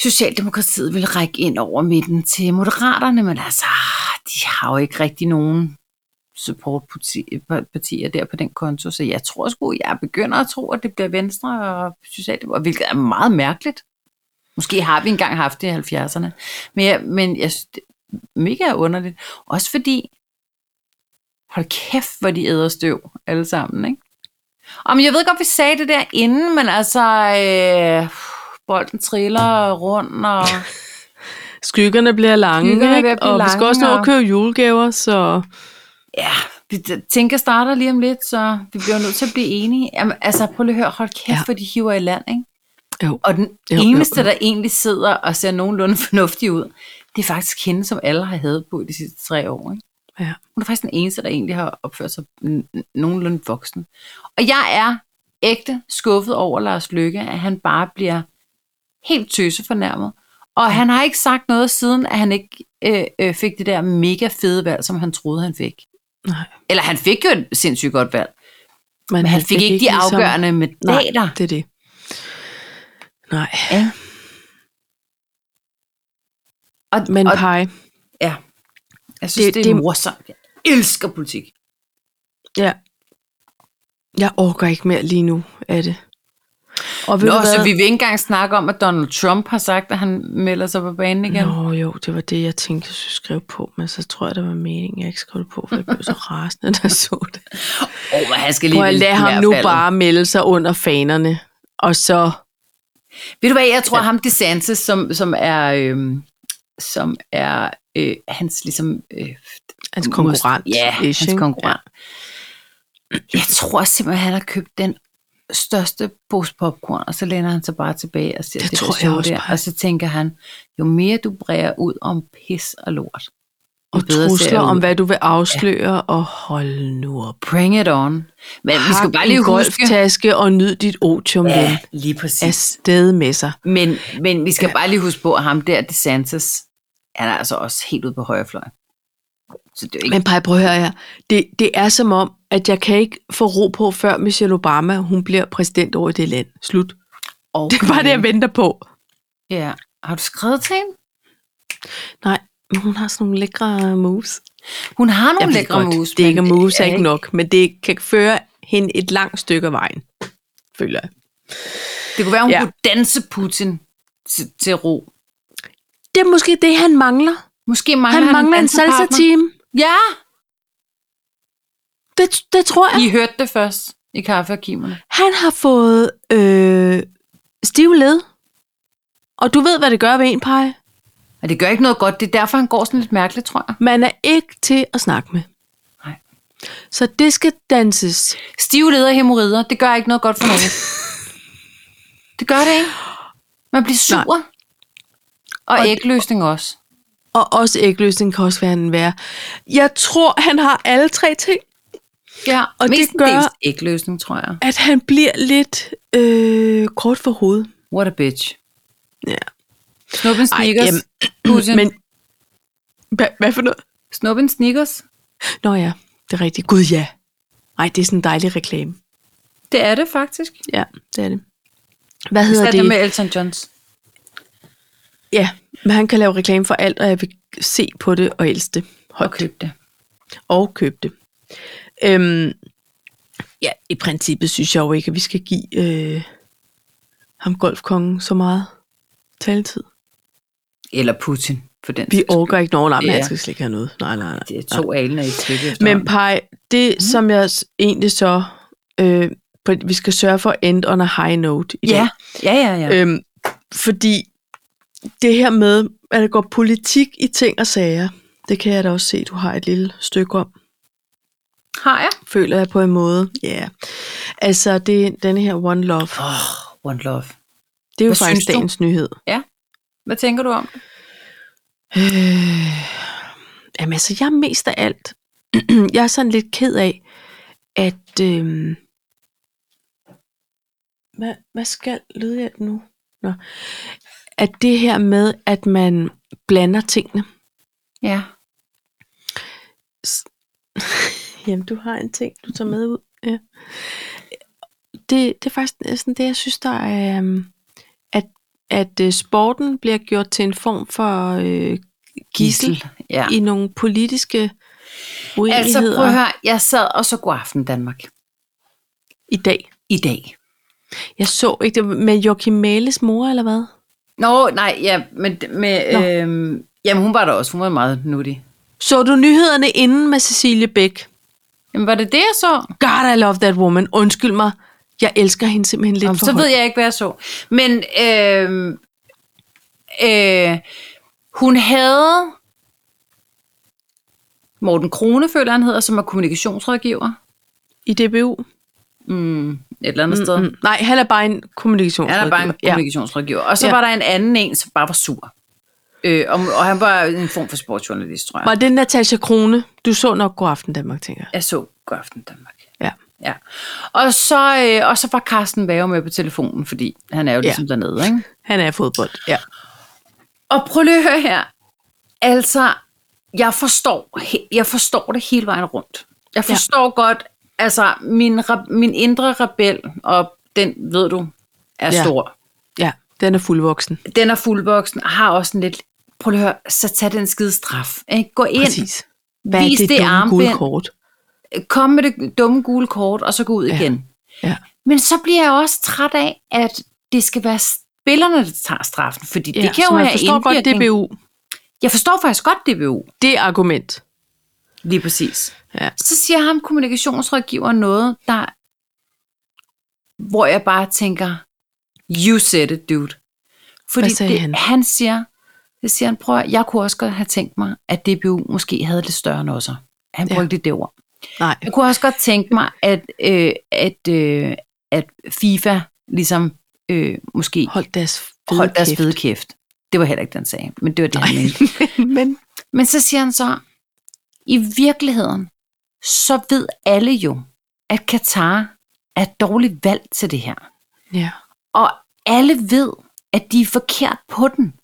Socialdemokratiet ville række ind over midten til Moderaterne, men altså, de har jo ikke rigtig nogen supportpartier der på den konto, så jeg tror sgu, jeg begynder at tro, at det bliver Venstre og Socialdemokratiet, hvilket er meget mærkeligt. Måske har vi engang haft det i 70'erne, men jeg, men jeg synes, det er mega underligt. Også fordi, hold kæft, hvor de æder støv alle sammen, ikke? Og men jeg ved godt, vi sagde det der inden, men altså, øh, bolden triller rundt, og Skyggerne bliver lange, Skyggerne er ikke? ved at blive og vi skal lange, også nå og- at købe julegaver, så... ja, vi tænker starter lige om lidt, så vi bliver nødt til at blive enige. Jamen, altså, prøv lige at høre, hold kæft, ja. Ja. hvor de hiver i land, ikke? Jo. Og den Jo, jo, eneste, jo. der egentlig sidder og ser nogenlunde fornuftig ud, det er faktisk hende, som alle har hadet på i de sidste tre år. Ikke? Ja. Hun er faktisk den eneste, der egentlig har opført sig n- n- nogenlunde voksen. Og jeg er ægte skuffet over Lars Lykke, at han bare bliver helt tøse fornærmet. Og han har ikke sagt noget siden, at han ikke øh, øh, fik det der mega fede valg, som han troede, han fik. Nej, Eller han fik jo et sindssygt godt valg, men han fik ikke de ligesom- afgørende Nej, mandater. det er det. Nej, Og, men og pej. Ja. Jeg synes, det, Det- det er det- morsomt. Jeg elsker politik. Ja. Jeg orker ikke mere lige nu af det. Og Nå, så vi vil ikke engang snakke om, at Donald Trump har sagt, at han melder sig på banen igen. Nå. Nå jo, det var det, jeg tænkte, jeg skulle skrive på, men så tror jeg, der var meningen, jeg ikke skrev det på, for jeg blev så rasende, da jeg så det. Oh, men han skal lige Prøv at vente lade den her ham nu faldet. bare melde sig under fanerne, og så... Ved du hvad, jeg tror ham DeSantis, som, som er, øhm, som er øh, hans ligesom... Øh, Hans konkurrent. Mod, ja, ish, hans ikke? konkurrent. Ja. Jeg tror simpelthen, han har købt den største pose popcorn, og så læner han sig bare tilbage og ser Det det, det tror der jeg show også der, bare. og så tænker han, jo mere du bræger ud om pis og lort, Og jo bedre ser trusler jeg om, ud. hvad du vil afsløre, ja. og hold nu op. Bring it on. Men vi skal Pak jo bare lige en huske... golftaske og nyd dit otium, ja. Altså, ven. Ja, lige præcis. Afsted med sig. Men, men vi skal bare lige huske på, at ham der, DeSantis, han er altså også helt ude på højre fløj. Så det er jo ikke... Men Paj, prøv at høre her. Det, det er som om, at jeg kan ikke få ro på, før Michelle Obama hun bliver præsident over i det land. Slut. okay. Det er bare det, jeg venter på. Ja. Har du skrevet til hende? Nej, men hun har sådan nogle lækre moves. Hun har Jeg nogle ved lækre godt, moves. Det er ikke men moves er ikke nok, men det kan føre hende et langt stykke af vejen, føler jeg. Det kunne være, hun Ja. ja. kunne danse Putin til, til ro. Det er måske det, han mangler. Måske Han, mangler han altså, han, mangler en dansepartner. salsa-team. Ja! Det, det tror jeg. I hørte det først i kaffearkiverne. Han har fået øh, stive led. Og du ved, hvad det gør ved en pege. Og det gør ikke noget godt. Det er derfor, han går sådan lidt mærkeligt, tror jeg. Man er ikke til at snakke med. Nej. Så det skal danses. Stive leder hemorrider, det gør ikke noget godt for nogen. det gør det ikke. Man bliver sur. Nej. Og, Og- og ægløsning også. Og også ægløsning kan også være en værre. Jeg tror, han har alle tre ting. Ja, og det mestendels gør- ægløsning, tror jeg. At han bliver lidt øh, kort for hovedet. What a bitch. Ja. Snuppen Ej, sneakers. jamen, Putin. Men hvad, hvad for noget? Snuppen sneakers. Nå ja, det er rigtigt. Gud ja. Nej, det er sådan en dejlig reklame. Det er det faktisk. Ja, det er det. Hvad Så hedder er det det? med Elton Johns. Ja, men han kan lave reklame for alt, og jeg vil se på det og elske det. Og Hot. køb det. og købe det. Øhm, ja, i princippet synes jeg jo ikke, at vi skal give øh, ham golfkongen så meget taletid. Eller Putin, for den Vi sags skyld. overgår ikke nogen men Ja. han skal slet ikke have noget. Nej, nej, nej. Det Mhm. er to alene i et Men Pej, det mm. som jeg s- egentlig så, øh, på- vi skal sørge for at end on a high note i dag. ja, ja, ja, ja. Øh, Øhm, fordi det her med, at der går politik i ting og sager, det kan jeg da også se, du har et lille stykke om. har jeg? føler jeg på en måde. Ja. Yeah. Altså, det er den her One Love. Oh, one love. Det er jo Hvad synes faktisk du? dagens nyhed. Hvad tænker du om? det? Øh, jamen, altså, jeg er mest af alt. jeg er sådan lidt ked af, at... Øh, hvad, hvad skal lydhjælp nu? Nå. At det her med, at man blander tingene. Ja. Jamen, du har en ting, du tager med ud. Ja. Det, det er faktisk sådan det, jeg synes, der er, øhm, at, at øh, sporten bliver gjort til en form for øh, gissel Ja. i nogle politiske Altså, uenigheder prøv at høre. Jeg sad og så god aften Danmark i dag. i dag. Jeg så ikke det med Joachim Males mor, eller hvad? Nå, nej, ja, men med, Nå. øhm, jamen, hun var der også. Hun var meget nuttig. Så du nyhederne inden med Cecilie Bæk? Jamen, var det det, jeg så? God, I love that woman. Undskyld mig. Jeg elsker hende simpelthen lidt Jamen, for så højt. ved jeg ikke, hvad jeg så. Men øh, øh, hun havde Morten Krone, føler han hedder, som er kommunikationsrådgiver. I DBU? Mm, et eller andet mm, sted. Mm, nej, han er bare en kommunikationsrådgiver. Han er bare en Ja. kommunikationsrådgiver. Og så Ja. ja. var der en anden en, som bare var sur. Øh, og, og han var en form for sportsjournalist, tror jeg. Var det Natasha Krone? Du så nok God Aften Danmark, tænker jeg. Jeg så God Aften Danmark. Ja. Ja. Og så, øh, og så var Carsten Vave med på telefonen, fordi han er jo ligesom ja. dernede, ikke? Han er i fodbold. Ja. Og prøv lige at høre her. Altså, jeg forstår, he- jeg forstår det hele vejen rundt. Jeg Ja. forstår ja. godt, altså min, re- min indre rebel, og den ved du, er Ja. ja. stor. ja, den er fuldvoksen. Den er fuldvoksen, har også en lidt, prøv lige at høre, så tag den skide straf. Ikke? Gå ind, Præcis. Præcis. Hvad er Vis det, det dumme gule armbind. kort? kom med det dumme gule kort, og så gå ud Ja. ja. igen. Ja. Men så bliver jeg også træt af, at det skal være spillerne, der tager straffen, fordi ja, Ja, det kan så jo man have forstår godt indvirkning. DBU. Jeg forstår faktisk godt DBU. Det er argument. Lige præcis. Ja. Så siger ham kommunikationsrådgiver noget, der, hvor jeg bare tænker, you said it, dude. Fordi Hvad sagde det, han? han siger, Så siger han, prøv at, jeg kunne også godt have tænkt mig, at DBU måske havde lidt større end også. Han Ja. brugte ja. det ord. Nej. Jeg kunne også godt tænke mig, at, øh, at, øh, at FIFA ligesom øh, måske Hold deres fede holdt deres kæft. fede kæft. Det var heller ikke den sag, men det var det, han mente. Men Men så siger han så, i virkeligheden, så ved alle jo, at Katar er et dårligt valg til det her. ja. Og alle ved, at de er forkert på den.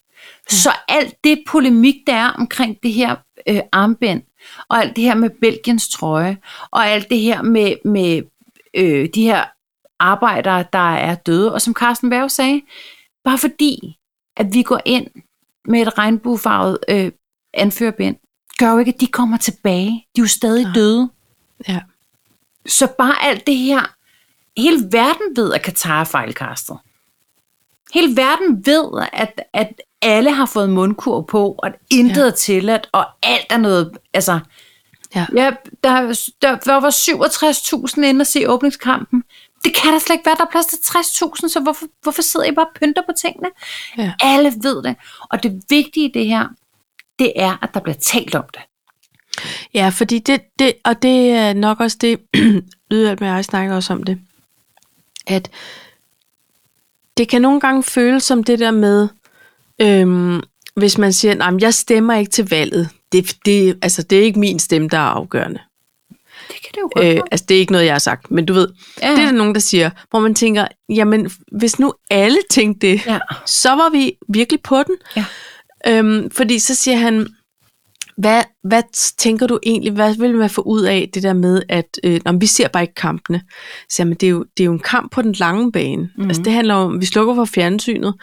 Så alt det polemik, der er omkring det her øh, armbind, og alt det her med Belgiens trøje, og alt det her med, med øh, de her arbejdere, der er døde, og som Carsten Berg sagde, bare fordi, at vi går ind med et regnbuefarvet øh, anførbind, gør jo ikke, at de kommer tilbage. De er jo stadig Nej. døde. ja. Så bare alt det her, hele verden ved, at Katar er fejlkastet. Hele verden ved, at, at alle har fået mundkur på, og at intet Ja. ja. er tilladt, og alt er noget, altså... Ja. ja der, der, der var 67.000 inde og se åbningskampen. Det kan da slet ikke være, der er plads til 60.000, så hvorfor, hvorfor sidder I bare og pynter på tingene? Ja. Alle ved det. Og det vigtige i det her, det er, at der bliver talt om det. Ja, fordi det, det, og det er nok også det, Lydhjælp med jeg snakker også om det, at det kan nogle gange føles som det der med, øhm, hvis man siger, at jeg stemmer ikke til valget. Det, det, altså, det er ikke min stemme, der er afgørende. Det kan det jo godt Øh, være. altså, det er ikke noget, jeg har sagt, men du ved, Ja. ja. det er der nogen, der siger, hvor man tænker, jamen, hvis nu alle tænkte det, Ja. så var vi virkelig på den. Ja. Øhm, fordi så siger han, hvad, hvad tænker du egentlig, hvad vil man få ud af det der med, at øh, når vi ser bare ikke kampene, så jamen, det, er jo, det er jo en kamp på den lange bane. Mm-hmm. Altså det handler om, vi slukker for fjernsynet,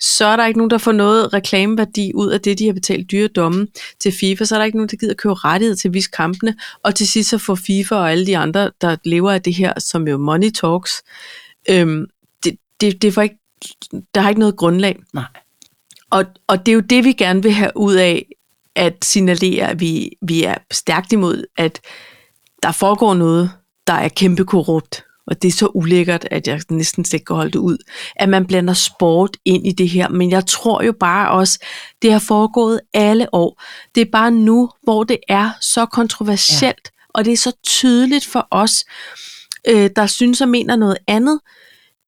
så er der ikke nogen, der får noget reklameværdi ud af det, de har betalt dyre domme til FIFA, så er der ikke nogen, der gider købe rettighed til at vise kampene, og til sidst så får FIFA og alle de andre, der lever af det her, som jo money talks, øhm, det, det, det får ikke, der har ikke noget grundlag. Nej. Og, og det er jo det, vi gerne vil have ud af at signalere, at vi, vi er stærkt imod, at der foregår noget, der er kæmpe korrupt. Og det er så ulækkert, at jeg næsten slet ikke kan holde det ud. At man blander sport ind i det her. Men jeg tror jo bare også, det har foregået alle år. Det er bare nu, hvor det er så kontroversielt, ja. og det er så tydeligt for os, øh, der synes og mener noget andet,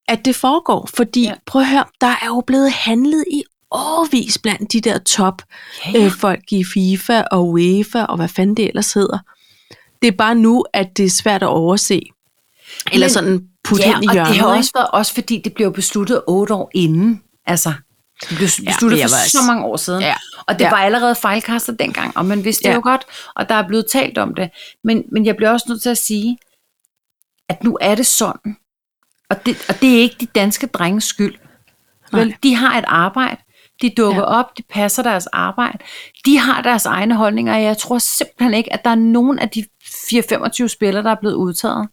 at det foregår. Fordi, Ja. ja. prøv at høre, der er jo blevet handlet i årvis blandt de der top Ja, ja. øh, folk i FIFA og UEFA og hvad fanden det ellers hedder. Det er bare nu, at det er svært at overse. Eller Men- sådan putte ja, hen i og det har hjørnet. også været, også fordi det blev besluttet otte år inden. Altså, det blev besluttet ja, jeg for var- så mange år siden. Ja, og det ja. var allerede fejlkastet dengang, og man vidste ja. Ja. det jo godt, og der er blevet talt om det. Men, men jeg bliver også nødt til at sige, at nu er det sådan. Og det, og det er ikke de danske drenges skyld. Vel, Nej. de har et arbejde. De dukker ja. Ja. op, de passer deres arbejde. De har deres egne holdninger, og jeg tror simpelthen ikke, at der er nogen af de 4-25 spillere, der er blevet udtaget,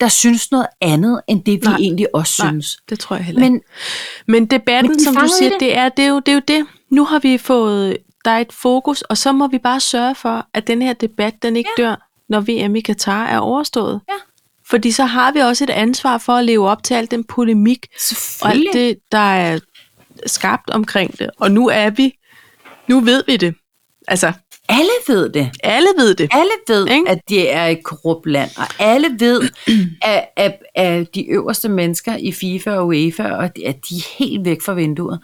der synes noget andet, end det vi Nej. Nej. egentlig også Nej, synes. det tror jeg heller ikke. Men Men debatten, Men Men de som du fangede i siger, det. det. Det, er, det, er jo, det er jo det. Nu har vi fået der er et fokus, og så må vi bare sørge for, at den her debat, den ikke ja. dør, når VM i Katar er overstået. Ja. Fordi så har vi også et ansvar for at leve op til al den polemik, og alt selvfølgelig, det, det, der er skabt omkring det. Og nu er vi, nu ved vi det. Altså, alle ved det. alle ved det. Alle ved, Ikke? at det er et korrupt land, og alle ved, at, at, at de øverste mennesker i FIFA og UEFA, og de- at de er helt væk fra vinduet.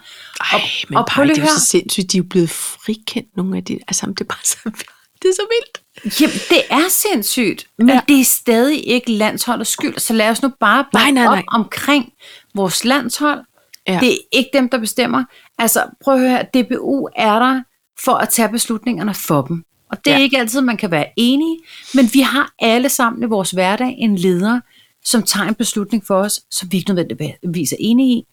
Ej, men og og prøv bare, lige det er jo at høre. så sindssygt, de er jo blevet frikendt, nogle af de, altså, det er bare så, det er så vildt. Jamen, det er sindssygt, men ja. Ja. det er stadig ikke landsholdets skyld, så lad os nu bare bakke Nej, nej, nej. op omkring vores landshold. Ja. Ja. Det er ikke dem, der bestemmer. Altså, prøv at høre, DBU er der for at tage beslutningerne for dem. Og det er ja. Ja. ikke altid, man kan være enige, men vi har alle sammen i vores hverdag en leder, som tager en beslutning for os, som vi ikke nødvendigvis er enige i.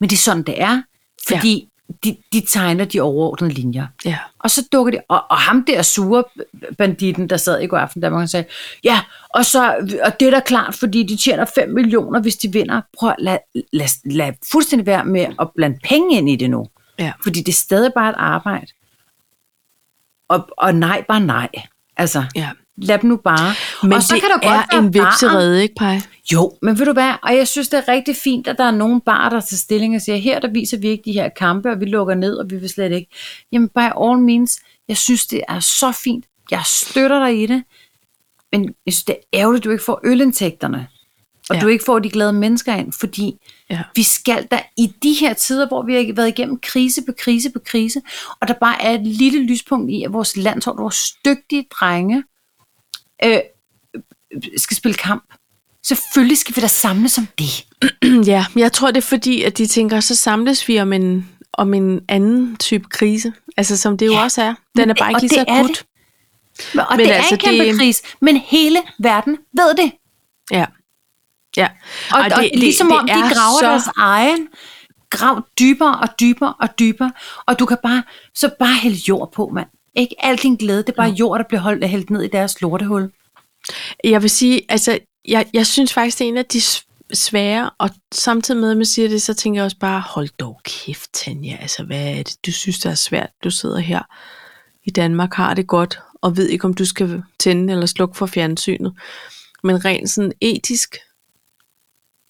Men det er sådan, det er, fordi ja. de, de tegner de overordnede linjer. Ja. Og så dukker det, og, og ham der sure banditten, der sad i går aften, der man sagde, ja, og, så, og det er da klart, fordi de tjener 5 millioner, hvis de vinder. Prøv at lad, lad, lad fuldstændig være med at blande penge ind i det nu. Ja. Fordi det er stadig bare et arbejde. Og, og nej, bare nej. Altså, Ja. lad dem nu bare. Men og så det kan der er godt være en barer- vipserede, ikke, Paj? Jo, men ved du hvad, og jeg synes, det er rigtig fint, at der er nogen bar, der tager stilling og siger, her der viser vi ikke de her kampe, og vi lukker ned, og vi vil slet ikke. Jamen, by all means, jeg synes, det er så fint. Jeg støtter dig i det. Men jeg synes, det er ærgerligt, at du ikke får ølindtægterne, og Ja. ja. du ikke får de glade mennesker ind, fordi Ja. vi skal da i de her tider, hvor vi har været igennem krise på krise på krise, og der bare er et lille lyspunkt i, at vores landshold, vores dygtige drenge, øh, skal spille kamp. Selvfølgelig skal vi da samle som det. Ja, jeg tror, det er fordi, at de tænker, så samles vi om en, om en anden type krise. Altså, som det jo Ja, også er. Den er men- bare ikke og lige så det er akut. det. Og Men men det altså, altså, er en kæmpe det- det... kris, men hele verden ved det. Ja. Ja. Og, og, og ligesom om de er graver så- så... deres egen grav dybere og dybere og dybere, og du kan bare, så bare hælde jord på, mand. Ikke al din glæde, det er bare jord, der bliver holdt, hældt ned i deres lortehul. Jeg vil sige, altså, jeg, jeg synes faktisk, det er en af de s- svære, og samtidig med, at man siger det, så tænker jeg også bare, hold dog kæft, Tanja, altså, hvad er det, du synes, der er svært, du sidder her i Danmark, har det godt, og ved ikke, om du skal tænde eller slukke for fjernsynet. Men rent sådan etisk,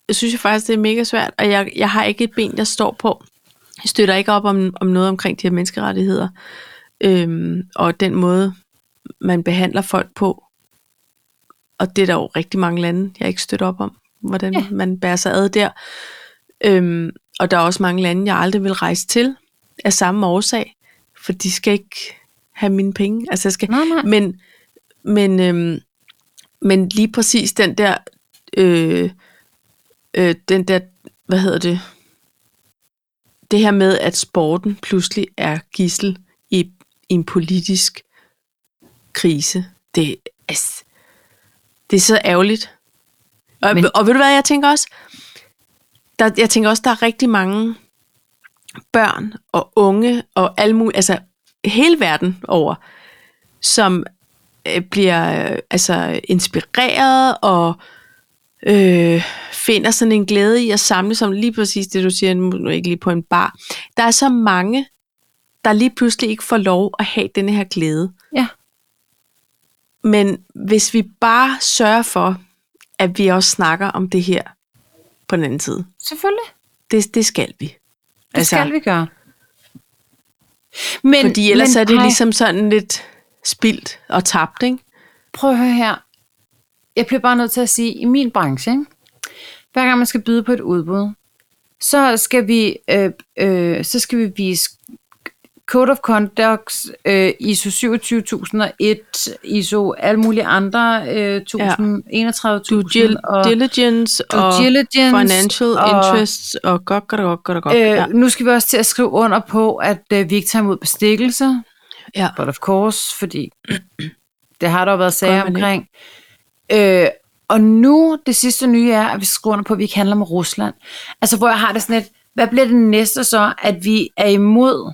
jeg synes jeg faktisk, det er mega svært, og jeg, jeg har ikke et ben, jeg står på. Jeg støtter ikke op om, om noget omkring de her menneskerettigheder, øhm, og den måde, man behandler folk på, og det er der jo rigtig mange lande, jeg ikke støtter op om, hvordan ja. Ja. man bærer sig ad der. Øhm, og der er også mange lande, jeg aldrig vil rejse til af samme årsag, for de skal ikke have mine penge. Altså, jeg skal, Nej, nej. Men, men, øhm, men lige præcis den der, øh, øh, den der, hvad hedder det, det her med, at sporten pludselig er gissel i, i en politisk krise, det, altså, det er så ærgerligt. Og, Men, Men- og ved du hvad, jeg tænker også, der, jeg tænker også, der er rigtig mange børn og unge og alle mulige, altså hele verden over, som øh, bliver øh, altså inspireret og øh, finder sådan en glæde i at samle som lige præcis det, du siger, nu nu ikke lige på en bar. Der er så mange, der lige pludselig ikke får lov at have denne her glæde. Ja. Men hvis vi bare sørger for, at vi også snakker om det her på den anden side, Selvfølgelig. det, det skal vi. Det altså, skal vi gøre. Men, Fordi ellers men, er det ej, ligesom sådan lidt spildt og tabt, ikke? Prøv at høre her. Jeg bliver bare nødt til at sige, i min branche, ikke? hver gang man skal byde på et udbud, så skal vi, øh, øh, så skal vi vise Code of Conduct, øh, ISO 27001, ISO alle mulige andre, øh, 1000, ja. 31.000 Due dil- og diligence due og diligence financial og- interests og godt, godt, godt, godt, godt. øh, ja. nu skal vi også til at skrive under på, at øh, vi ikke tager imod bestikkelse. Ja. But of course, fordi det har der jo været sager man ikke. omkring. Øh, og nu, det sidste nye er, at vi skriver under på, at vi ikke handler med Rusland. Altså, hvor jeg har det sådan lidt, hvad bliver det næste så, at vi er imod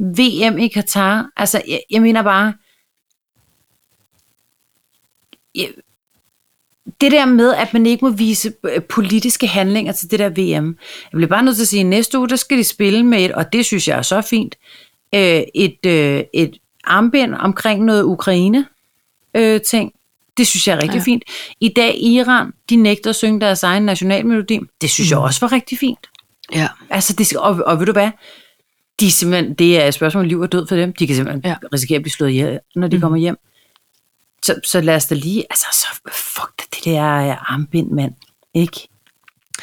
VM i Katar? Altså, jeg, jeg mener bare, jeg, det der med, at man ikke må vise øh, politiske handlinger til det der VM. Jeg bliver bare nødt til at sige, at næste uge, der skal de spille med et, og det synes jeg er så fint, øh, et, øh, et armbind omkring noget Ukraine-ting. Øh, ting. det synes jeg er rigtig Ja. ja. fint. I dag Iran, de nægter at synge deres egen nationalmelodi. Det synes mm. jeg også var rigtig fint. ja. Altså, det skal, og, og ved du hvad? De er simpelthen, det er et spørgsmål om liv og død for dem. De kan simpelthen Ja. ja. risikere at blive slået ihjel, når de mm. kommer hjem. Så, så lad os da lige, altså så fuck da det der øh, armbind, mand. Ikke?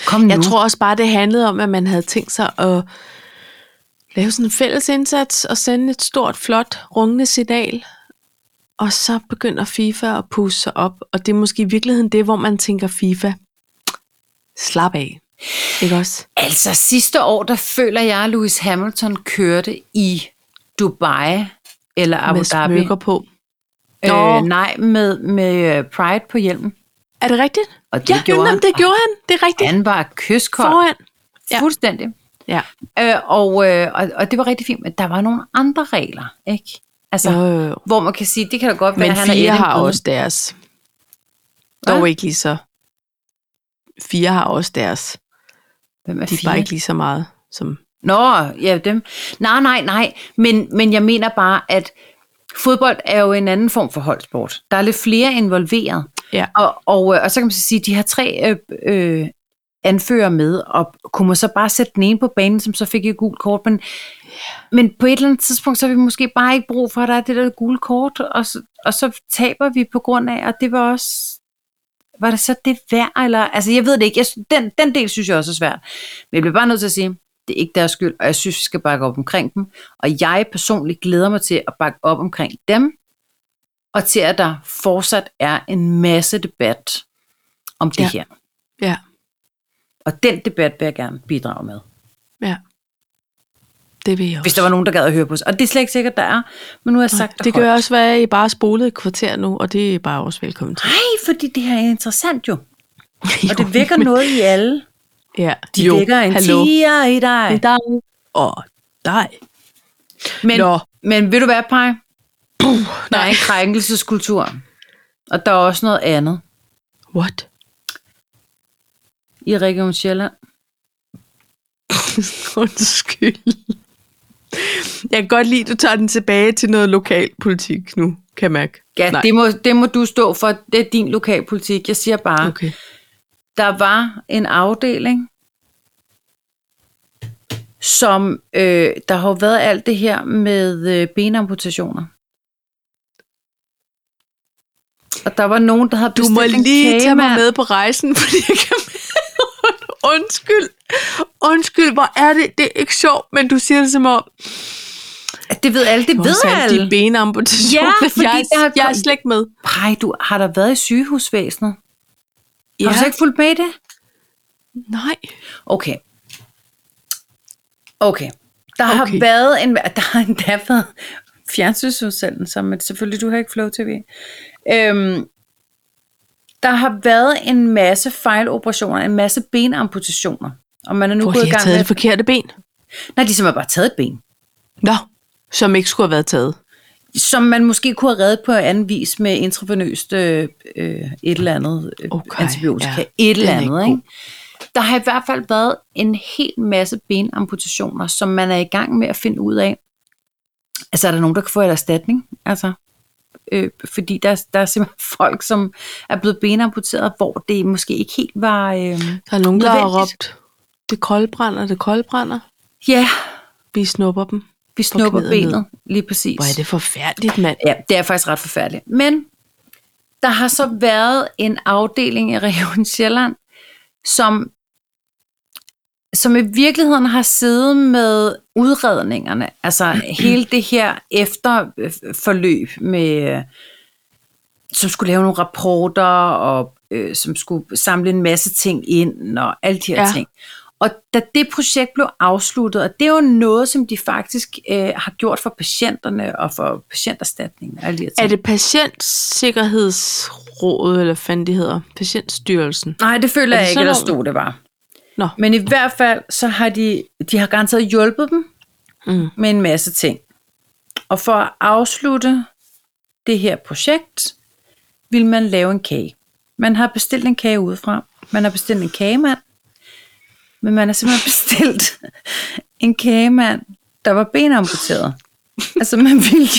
Kom nu. Jeg tror også bare, det handlede om, at man havde tænkt sig at lave sådan en fælles indsats og sende et stort, flot, rungende signal. Og så begynder FIFA at pusse sig op. Og det er måske i virkeligheden det, hvor man tænker FIFA. Slap af. Ikke også? Altså sidste år, der føler jeg, at Lewis Hamilton kørte i Dubai eller Abu Med Dhabi. smykker på. Nå. Øh, nej, med, med øh, Pride på hjelmen. Er det rigtigt? Og det ja, gjorde jamen, han. det gjorde han. Det er rigtigt. Han var kyskold. Foran. ja. Fuldstændig. Ja. Øh, og, øh, og, og det var rigtig fint, men der var nogle andre regler, ikke? Altså, Jo, jo, jo. hvor man kan sige, det kan da godt være, Men at han er fire inde har i billedet. også deres. Hvad? Dog ikke lige så. Fire har også deres. Hvem er De er fire? bare ikke lige så meget som... Nå, ja, dem. Nej, nej, nej. Men, men jeg mener bare, at Fodbold er jo en anden form for holdsport. Der er lidt flere involveret. Ja. Og, og, øh, og så kan man så sige, at de har tre øh, øh, anfører med, og kunne man så bare sætte den ene på banen, som så fik et gult kort, men, men på et eller andet tidspunkt, så har vi måske bare ikke brug for, at der er det der gule kort, og så, og så taber vi på grund af, og det var også, var det så det værd, eller, altså jeg ved det ikke, jeg, sy- den, den del synes jeg også er svært, men jeg bliver bare nødt til at sige, det er ikke deres skyld, og jeg synes, vi skal bakke op omkring dem, og jeg personligt glæder mig til at bakke op omkring dem, og til at der fortsat er en masse debat om det Ja. ja. her. Ja, Og den debat vil jeg gerne bidrage med. ja. Det vil jeg også. Hvis der var nogen, der gad at høre på os. Og det er slet ikke sikkert, der er. Men nu har jeg sagt det kan højt. også være, at I bare spolede et kvarter nu, og det er bare også velkommen til. Nej, fordi det her er interessant jo. Og Jo, det vækker noget i alle. ja. De jo, vækker en tiger i dig. I dig og dig. Men, Nå. men vil du være, Paj? Der er en krænkelseskultur. Og der er også noget andet What? i Region Sjælland. Undskyld. Jeg kan godt lide, at du tager den tilbage til noget lokalpolitik nu, kan jeg mærke. Ja, Nej. det må, det må du stå for. Det er din lokalpolitik. Jeg siger bare, okay. Okay. der var en afdeling, som øh, der har jo været alt det her med øh, benamputationer. Og der var nogen, der havde Du bestilt må en lige tage mig kagemand. med på rejsen, fordi jeg kan Undskyld. Undskyld, hvor er det? Det er ikke sjovt, men du siger det som om, Det ved alle, det du ved har alle. de benamputationer. Ja, fordi jeg, der er, er jeg er kom- slet ikke med. Nej, du har der været i sygehusvæsenet. Ja. Har du Ja. så ikke fulgt med i det? Nej. Okay. Okay. Der Okay. har været en, der har endda været fjernsynsudsendelse, men selvfølgelig, du har ikke Flow TV. Øhm, der har været en masse fejloperationer, en masse benamputationer. Og man er nu Hvor gået i de har gang taget med... det forkerte ben. Nej, de som har bare taget et ben. Nå, som ikke skulle have været taget. Som man måske kunne have reddet på anden vis med intravenøst øh, øh, et eller andet øh, Okay, okay, antibiotika. ja. Ja, et Den eller er ikke andet, god. ikke? Der har i hvert fald været en hel masse benamputationer, som man er i gang med at finde ud af. Altså, er der nogen, der kan få et erstatning? Altså, øh, fordi der, der er simpelthen folk, som er blevet benamputeret, hvor det måske ikke helt var... Øh, Der er nogen, der har Nødvendigt. råbt, det koldbrænder, det koldbrænder. ja, Vi snupper dem. vi snupper knæet ned. benet, lige præcis. Hvor er det forfærdeligt, mand. Ja, det er faktisk ret forfærdeligt. Men der har så været en afdeling i Region Sjælland, som, som i virkeligheden har siddet med udredningerne. Altså hele det her efterforløb med, øh, som skulle lave nogle rapporter, og øh, som skulle samle en masse ting ind, og alle de her Ja. ja. ting. Og da det projekt blev afsluttet, og det er jo noget, som de faktisk øh, har gjort for patienterne og for patienterstatningen og alle de her ting. Er det patientsikkerhedsrådet, eller hvad fanden det hedder? Patientstyrelsen. Nej, det føler Er jeg det ikke, sådan at der noget? stod det var. Nå. Men i hvert fald, så har de, de har garanteret hjulpet dem Mm. med en masse ting. Og for at afslutte det her projekt, vil man lave en kage. Man har bestilt en kage udefra. Man har bestilt en kagemand. Men man har simpelthen bestilt en kagemand, der var benamputeret. altså man ville...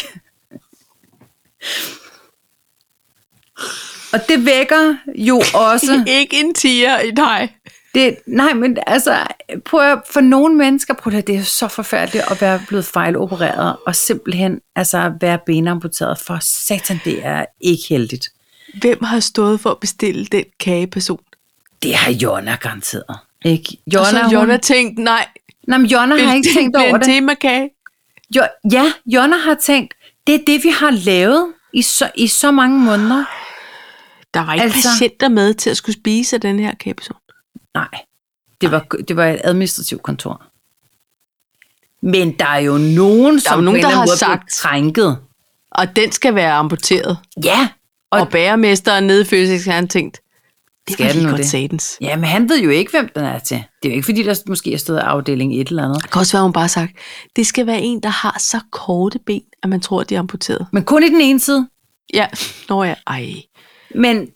Og det vækker jo også Ikke en tiger i dig. det, nej, men altså, prøv at, for nogle mennesker, prøv at, høre, det er jo så forfærdeligt at være blevet fejlopereret, og simpelthen altså være benamputeret, for satan, det er ikke heldigt. Hvem har stået for at bestille den kageperson? Det har Jonna garanteret. Ikke? Og så Jonna, har Jonna, Jonna hun, tænkt, nej, nej, men Jonna har ikke tænkt bliver over en det. temakage. Jo, ja, Jonna har tænkt, det er det, vi har lavet i så, i så mange måneder. Der var ikke altså... Altså- patienter med til at skulle spise af den her kageperson. Nej, det var, det var et administrativt kontor. Men der er jo nogen, der jo nogen, som på en der eller anden har måde er blevet krænket. Og den skal være amputeret. Ja, Og, Og- og bagermesteren nede i Føsix, han tænkt, det Skal var den lige nu godt det? satans. Ja, men han ved jo ikke, hvem den er til. Det er jo ikke, fordi der måske er stået afdeling et eller andet. Det kan også være, hun bare har sagt, det skal være en, der har så korte ben, at man tror, de er amputeret. Men kun i den ene side. Ja, nå ja, ej. Men,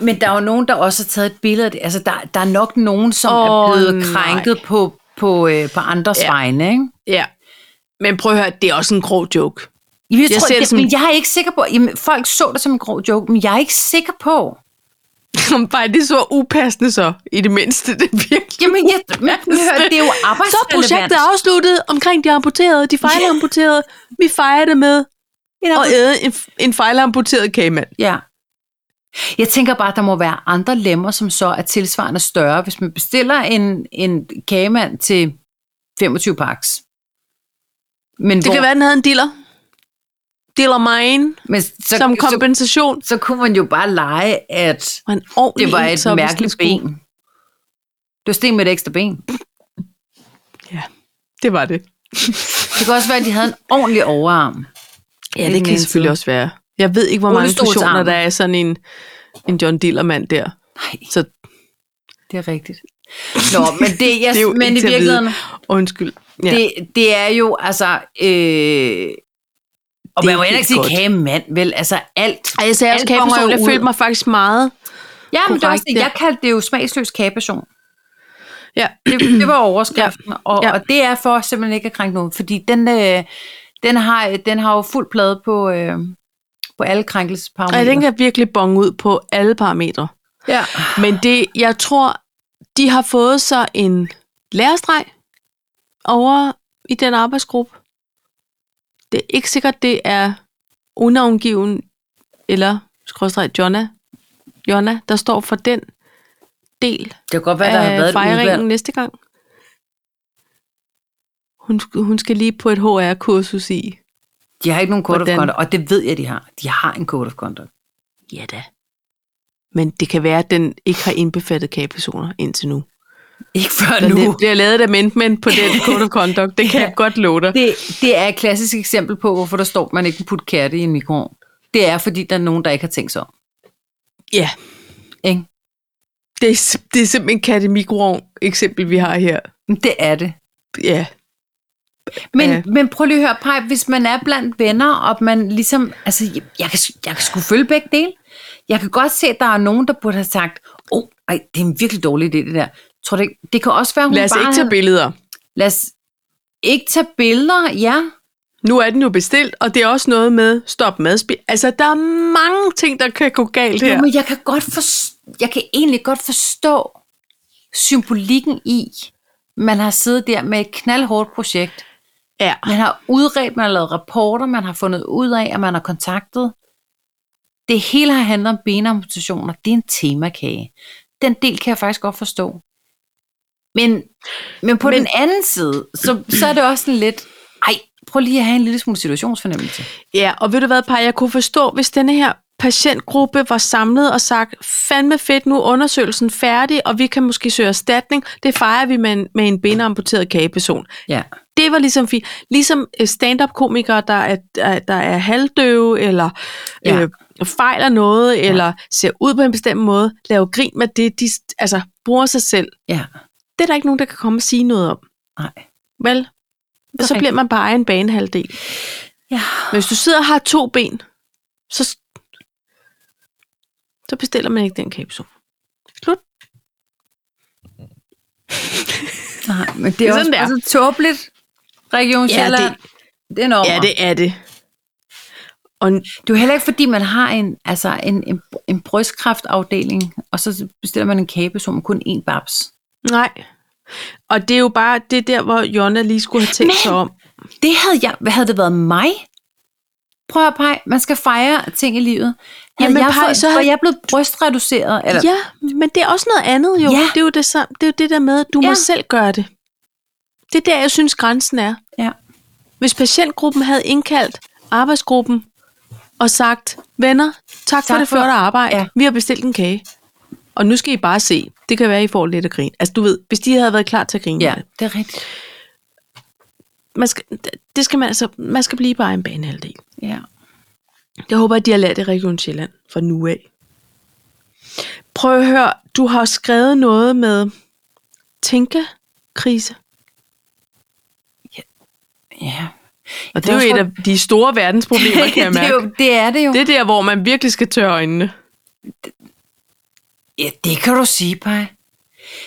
men der er jo nogen, der også har taget et billede af det. Altså, der, der er nok nogen, som Åh, oh, er blevet nej. krænket på, på, øh, på andres Ja. ja. vegne, ikke? Ja, men prøv at høre, det er også en grov joke. Jamen, jeg, Jeg tror, ser det jeg, som- men jeg er ikke sikker på, jamen, folk så det som en grov joke, men jeg er ikke sikker på. Bare det så upassende så, i det mindste, det virkelig. Jamen, jeg, men, hør, det er jo arbejdsrelevant. Så er projektet afsluttet omkring de amputerede, de fejlamputerede. Vi fejrer det med at æde en, en fejlamputeret kagemand. Ja. Jeg tænker bare, at der må være andre lemmer, som så er tilsvarende større. Hvis man bestiller en, en kagemand til 25 pakkes. Men, Det hvor, kan være, den havde en dealer. Dealer mine, men så, som så, kompensation. så kunne man jo bare lege, at Og en ordentlig det var en, et så hvis den mærkeligt skulle- ben. Du steg med et ekstra ben. Ja, det var det. Det kan også være, at de havde en ordentlig overarm. Ja, den det kan anden selvfølgelig også være. Jeg ved ikke, hvor mange Rullestolsarm. personer der er i sådan en, en John Dillermand der. Nej, Så det er rigtigt. Nå, men det, jeg, det er jo men i ikke til at vide. virkeligheden, undskyld. Ja. Det, Det, det er jo, altså... Øh, og Det man er må heller ikke sige godt. kagemand, vel? Altså alt. Ej, jeg sagde også alt kommer kageperson, jo jeg ud. følte mig faktisk meget. Ja, men det er også korrekt, det. ja. Jeg kaldte det jo smagsløs kageperson. Ja, Det, det var overskriften. Ja. Og, Ja. ja. og det er for simpelthen ikke at krænke nogen. Fordi den, øh, den, har, den har jo fuld plade på, øh, på alle og krænkelsesparametre. jeg tænker virkelig bonge ud på alle parametre. ja. Men det, jeg tror, de har fået sig en lærestreg over i den arbejdsgruppe. Det er ikke sikkert, det er unavngiven eller skråstreg Jonna, Jonna, der står for den del Det kan godt være, der af har været et Øh, fejringen udvalg. næste gang. Hun, sk- hun skal lige på et HR-kursus i. De har ikke nogen code Hvordan? of conduct, og det ved jeg, de har. De har en code of conduct. Ja da. Men det kan være, at den ikke har indbefattet kagepersoner indtil nu. Ikke før Den nu. nu. bliver lavet af mændmænd på den code of conduct. Det kan jeg godt love dig. Det, det er et klassisk eksempel på, hvorfor der står, at man ikke kan putte katte i en mikroovn. Det er, fordi der er nogen, der ikke har tænkt sig om. Ja, Ikke? det er, sim- det er simpelthen katte mikroovn eksempel, vi har her. Men Det er det. Ja. Men, Ja. ja. men prøv lige at høre, Paj, hvis man er blandt venner, og man ligesom, altså, jeg, jeg, kan, jeg kan sgu følge begge dele. Jeg kan godt se, at der er nogen, der burde have sagt, åh, oh, ej, det er en virkelig dårlig idé, det der. Tror du ikke, det kan også være, hun Lad os bare... ikke tage havde- billeder. Lad os ikke tage billeder, ja. Nu er den jo bestilt, og det er også noget med stop madspil. Altså, der er mange ting, der kan gå galt Jo, her. men jeg kan, godt for, jeg kan egentlig godt forstå symbolikken i, man har siddet der med et knaldhårdt projekt. Ja. Man har udredt, man har lavet rapporter, man har fundet ud af, at man har kontaktet. Det hele har handlet om benamputationer. Det er en temakage. Den del kan jeg faktisk godt forstå. Men, men på men, Men- den anden side, så, så er det også sådan lidt, ej, prøv lige at have en lille smule situationsfornemmelse. Ja, og ved du hvad, Paj, jeg kunne forstå, hvis denne her patientgruppe var samlet og sagt, fandme fedt, nu er undersøgelsen færdig, og vi kan måske søge erstatning. Det fejrer vi med en, med en benamputeret kageperson. Ja. Det var ligesom fint. Ligesom øh, stand-up-komikere, der er, der, der er halvdøve, eller Ja. øh, fejler noget, ja. eller ser ud på en bestemt måde, laver grin med det, de st- altså, bruger sig selv. Ja, Det er der ikke nogen, der kan komme og sige noget om. nej. Vel? Og så rigtigt. bliver man bare en banehalvdel. Ja. Men hvis du sidder og har to ben, så, så bestiller man ikke den capsule. Slut. Nej, men det Det er er også sådan, det bare er. så tåbeligt. Region Ja, Sjælland. det, er en ommer. Ja, det er det. Og n- Det er jo heller ikke, fordi man har en, altså en, en, en brystkræftafdeling, og så bestiller man en kæbe, som kun én babs. nej. Og det er jo bare det er der, hvor Jonna lige skulle have tænkt Men- sig om. Det havde jeg, hvad havde det været mig? Prøv at pege, man skal fejre ting i livet. Havde Jamen, jeg, Paj, fået- så havde- var jeg blevet brystreduceret? Eller, Ja, men det er også noget andet jo. Ja. Det er jo det, sam- det, er jo det der med, at du ja. Ja. må selv gøre det. Det er der, jeg synes, grænsen er. ja. Hvis patientgruppen havde indkaldt arbejdsgruppen og sagt, venner, tak, tak for Tak det for- flotte arbejde, ja. Ja. vi har bestilt en kage. Og nu skal I bare se. Det kan være, I får lidt af grin. Altså du ved, hvis de havde været klar til at grine. ja, med det. det er rigtigt. Man skal, det skal man altså, man skal blive bare en banehalvdel. Ja. Jeg håber, at de har lært det i Region Sjælland fra nu af. Prøv at høre, du har skrevet noget med tænkekrise. ja. Og det er jo et af de store verdensproblemer, kan jeg det, er mærke. jo, det er det jo. Det er der, hvor man virkelig skal tørre øjnene. Ja, det kan du sige, Paj.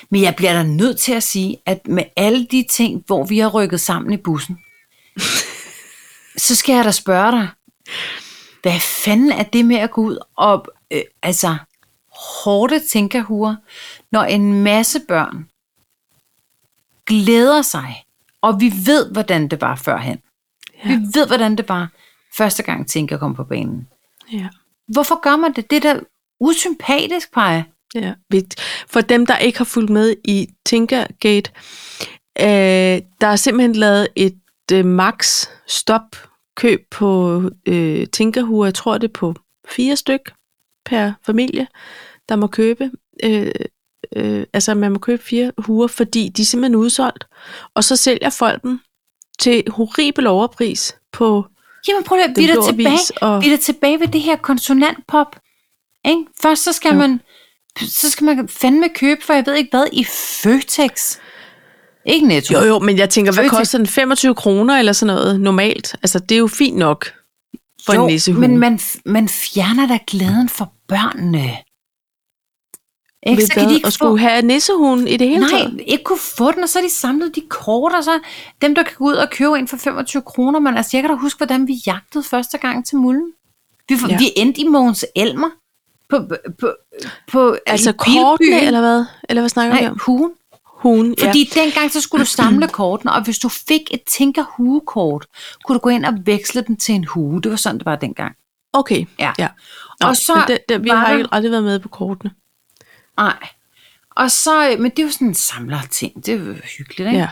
Men jeg bliver da nødt til at sige, at med alle de ting, hvor vi har rykket sammen i bussen, så skal jeg da spørge dig, hvad fanden er det med at gå ud og, øh, altså, hårde tænkerhuer, når en masse børn glæder sig, og vi ved, hvordan det var førhen. Ja. Vi ved, hvordan det var første gang tænker kom på banen. Ja. Hvorfor gør man det? Det er da usympatisk, Paj. Ja. Vi- For dem, der ikke har fulgt med i Tinkergate, øh, der er simpelthen lavet et øh, max stop køb på øh, Tinkerhuer. Jeg tror, det er på fire styk per familie, der må købe. Øh, øh, altså, man må købe fire huer, fordi de er simpelthen udsolgt. Og så sælger folk dem til horribel overpris på Jamen prøv at høre, den vi er blå da tilbage, avis. Og, vi er da tilbage ved det her konsonantpop. Ikke? Først så skal Jo. man så skal man fandme købe, for jeg ved ikke hvad, i Føtex. Ikke Netto. Jo, jo, men jeg tænker, hvad Føtex. koster den? 25 kroner eller sådan noget normalt? Altså, det er jo fint nok for en nissehue. men man, f- man fjerner da glæden for børnene. Ikke? Ved Så kan hvad? de ikke Og skulle få, have nissehuen i det hele taget? nej, ikke kunne få den, og så er de samlet de kort, og så dem, der kan gå ud og købe en for 25 kroner, men altså, jeg kan da huske, hvordan vi jagtede første gang til mulden. Vi, Ja. ja. vi endte i Mogens Elmer. På, på, på, på, Altså i Bilbyen. kortene, eller hvad? Eller hvad snakker vi Nej, om? huen. Hun, Fordi ja. dengang så skulle du samle kortene, og hvis du fik et tænker huekort, kunne du gå ind og veksle den til en hue. Det var sådan, det var dengang. ja. Okay. Ja. ja. Og så men det, det, vi var har der- ikke aldrig været med på kortene. Nej. Og så, øh, men det er jo sådan en samler ting. Det er jo hyggeligt, ikke? Ja.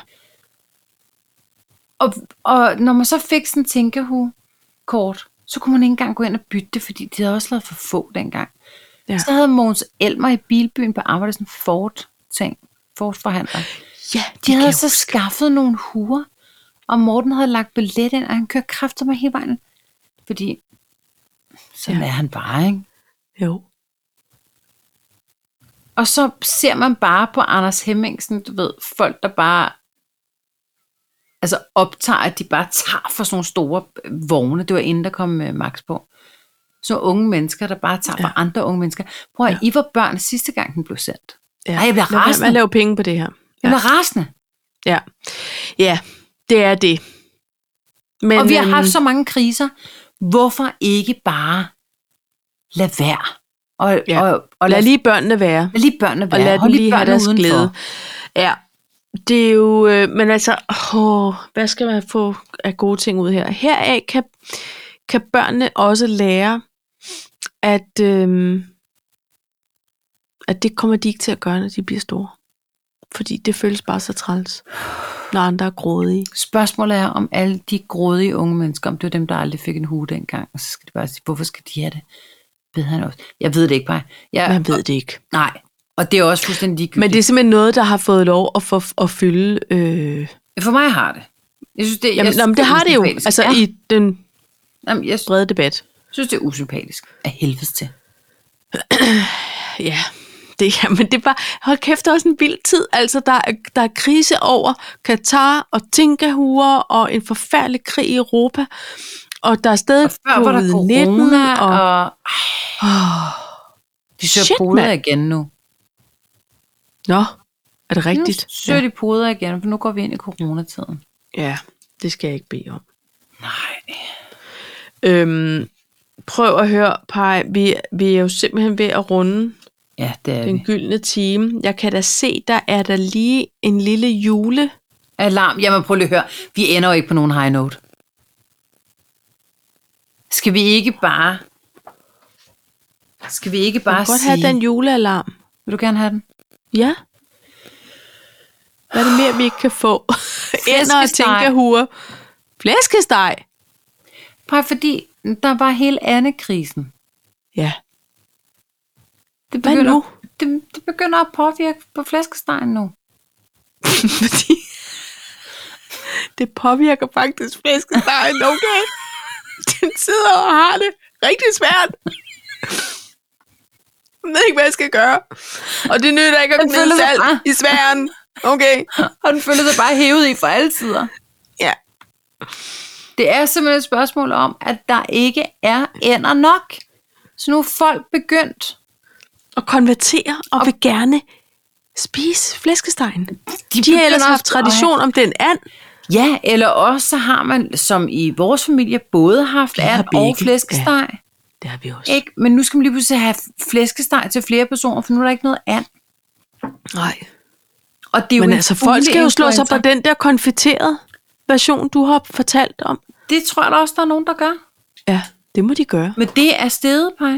Og, og når man så fik sådan en tænkehue-kort, så kunne man ikke engang gå ind og bytte det, fordi de havde også lavet for få dengang. Ja. Ja. Så havde Mogens Elmer i bilbyen på arbejde sådan en Ford-ting. Ford-forhandler. ja, De havde så skaffet nogle huer, og Morten havde lagt billet ind, og han kørte kræfter med hele vejen. Fordi sådan Ja. ja. er han bare, ikke? Jo. Og så ser man bare på Anders Hemmingsen, du ved, folk der bare altså optager, at de bare tager for sådan nogle store øh, vogne. Det var inden der kom øh, Max på. Så unge mennesker, der bare tager ja. Ja. fra andre unge mennesker. Prøv at ja. I var børn sidste gang, den blev sendt. Ja. Ej, jeg bliver Lad være med rasende. at lave penge på det her. Ja. Jeg var rasende. Ja. Ja, det er det. Men, og vi har øhm, haft så mange kriser. Hvorfor ikke bare lade være? Og, Ja. ja. og, Lad og lad, lad, lige, lige børnene være. lad lige børnene og være. lad dem Hold lige have børnene deres udenfor. glæde. Ja, det er jo, øh, men altså, åh, hvad skal man få af gode ting ud her? Heraf kan, kan børnene også lære, at, øh, at det kommer de ikke til at gøre, når de bliver store. Fordi det føles bare så træls, når andre er grådige. Spørgsmålet er, om alle de grådige unge mennesker, om det var dem, der aldrig fik en hue dengang, og så skal de bare sige, hvorfor skal de have det? Ved han også. Jeg ved det ikke, bare. Jeg, Man ved det ikke. Nej, og det er også fuldstændig Men ligegyldigt. det er simpelthen noget, der har fået lov at, få, at fylde... Øh, det, for mig har det. Jeg synes, det, jeg jamen, synes, nå, men det har det jo, usympatisk. altså ja, i den jamen, jeg brede debat. synes, det er usympatisk. Af helvedes til. Ja, det er, men det er bare, hold kæft, det er også en vild tid. Altså, der er, der er krise over Katar og Tinkahuer og en forfærdelig krig i Europa. Og der er stadig Og før var der corona, og... og de søger Ah. Shit, poder mand. igen nu. Nå, er det rigtigt? Nu søger de poder igen, for nu går vi ind i coronatiden. Ja. ja, det skal jeg ikke bede om. Nej. Øhm, prøv at høre, Paj, vi, vi er jo simpelthen ved at runde Ja, det er den vi. gyldne time. Jeg kan da se, der er der lige en lille jule. Alarm. Jamen prøv lige at høre. Vi ender jo ikke på nogen high note. Skal vi ikke bare... Skal vi ikke Jeg bare kan godt sige... have den julealarm. Vil du gerne have den? Ja. Hvad er det mere, vi ikke kan få? Ender og Flæskesteg. tænkehure. Flæskesteg? Prøv, fordi der var hele Anne-krisen. Ja. Det Hvad begynder, nu? Det, det begynder at påvirke på flæskestegen nu. Fordi det påvirker faktisk flæskestegen, okay? Den sidder og har det rigtig svært. Jeg ved ikke, hvad jeg skal gøre. Og det nytter ikke at Den gnide føler sig salt bare- i sværen. Okay? Og den føler sig bare hævet i for alle sider. Ja. Det er simpelthen et spørgsmål om, at der ikke er ender nok. Så nu er folk begyndt. Og konvertere og, vil gerne spise flæskestegen. De, har begynder ellers haft også at- tradition om den and. Ja, eller også så har man, som i vores familie, både haft Vi har and og begge, flæskesteg. Det har vi også. Ja. Ikke? Men nu skal man lige pludselig have flæskesteg til flere personer, for nu er der ikke noget and. Nej. Og det er Men jo en altså, folk skal jo slå sig på fugleinfluenza. den der konfiterede version, du har fortalt om. Det tror jeg da også, der er nogen, der gør. Ja, det må de gøre. Men det er stedepej.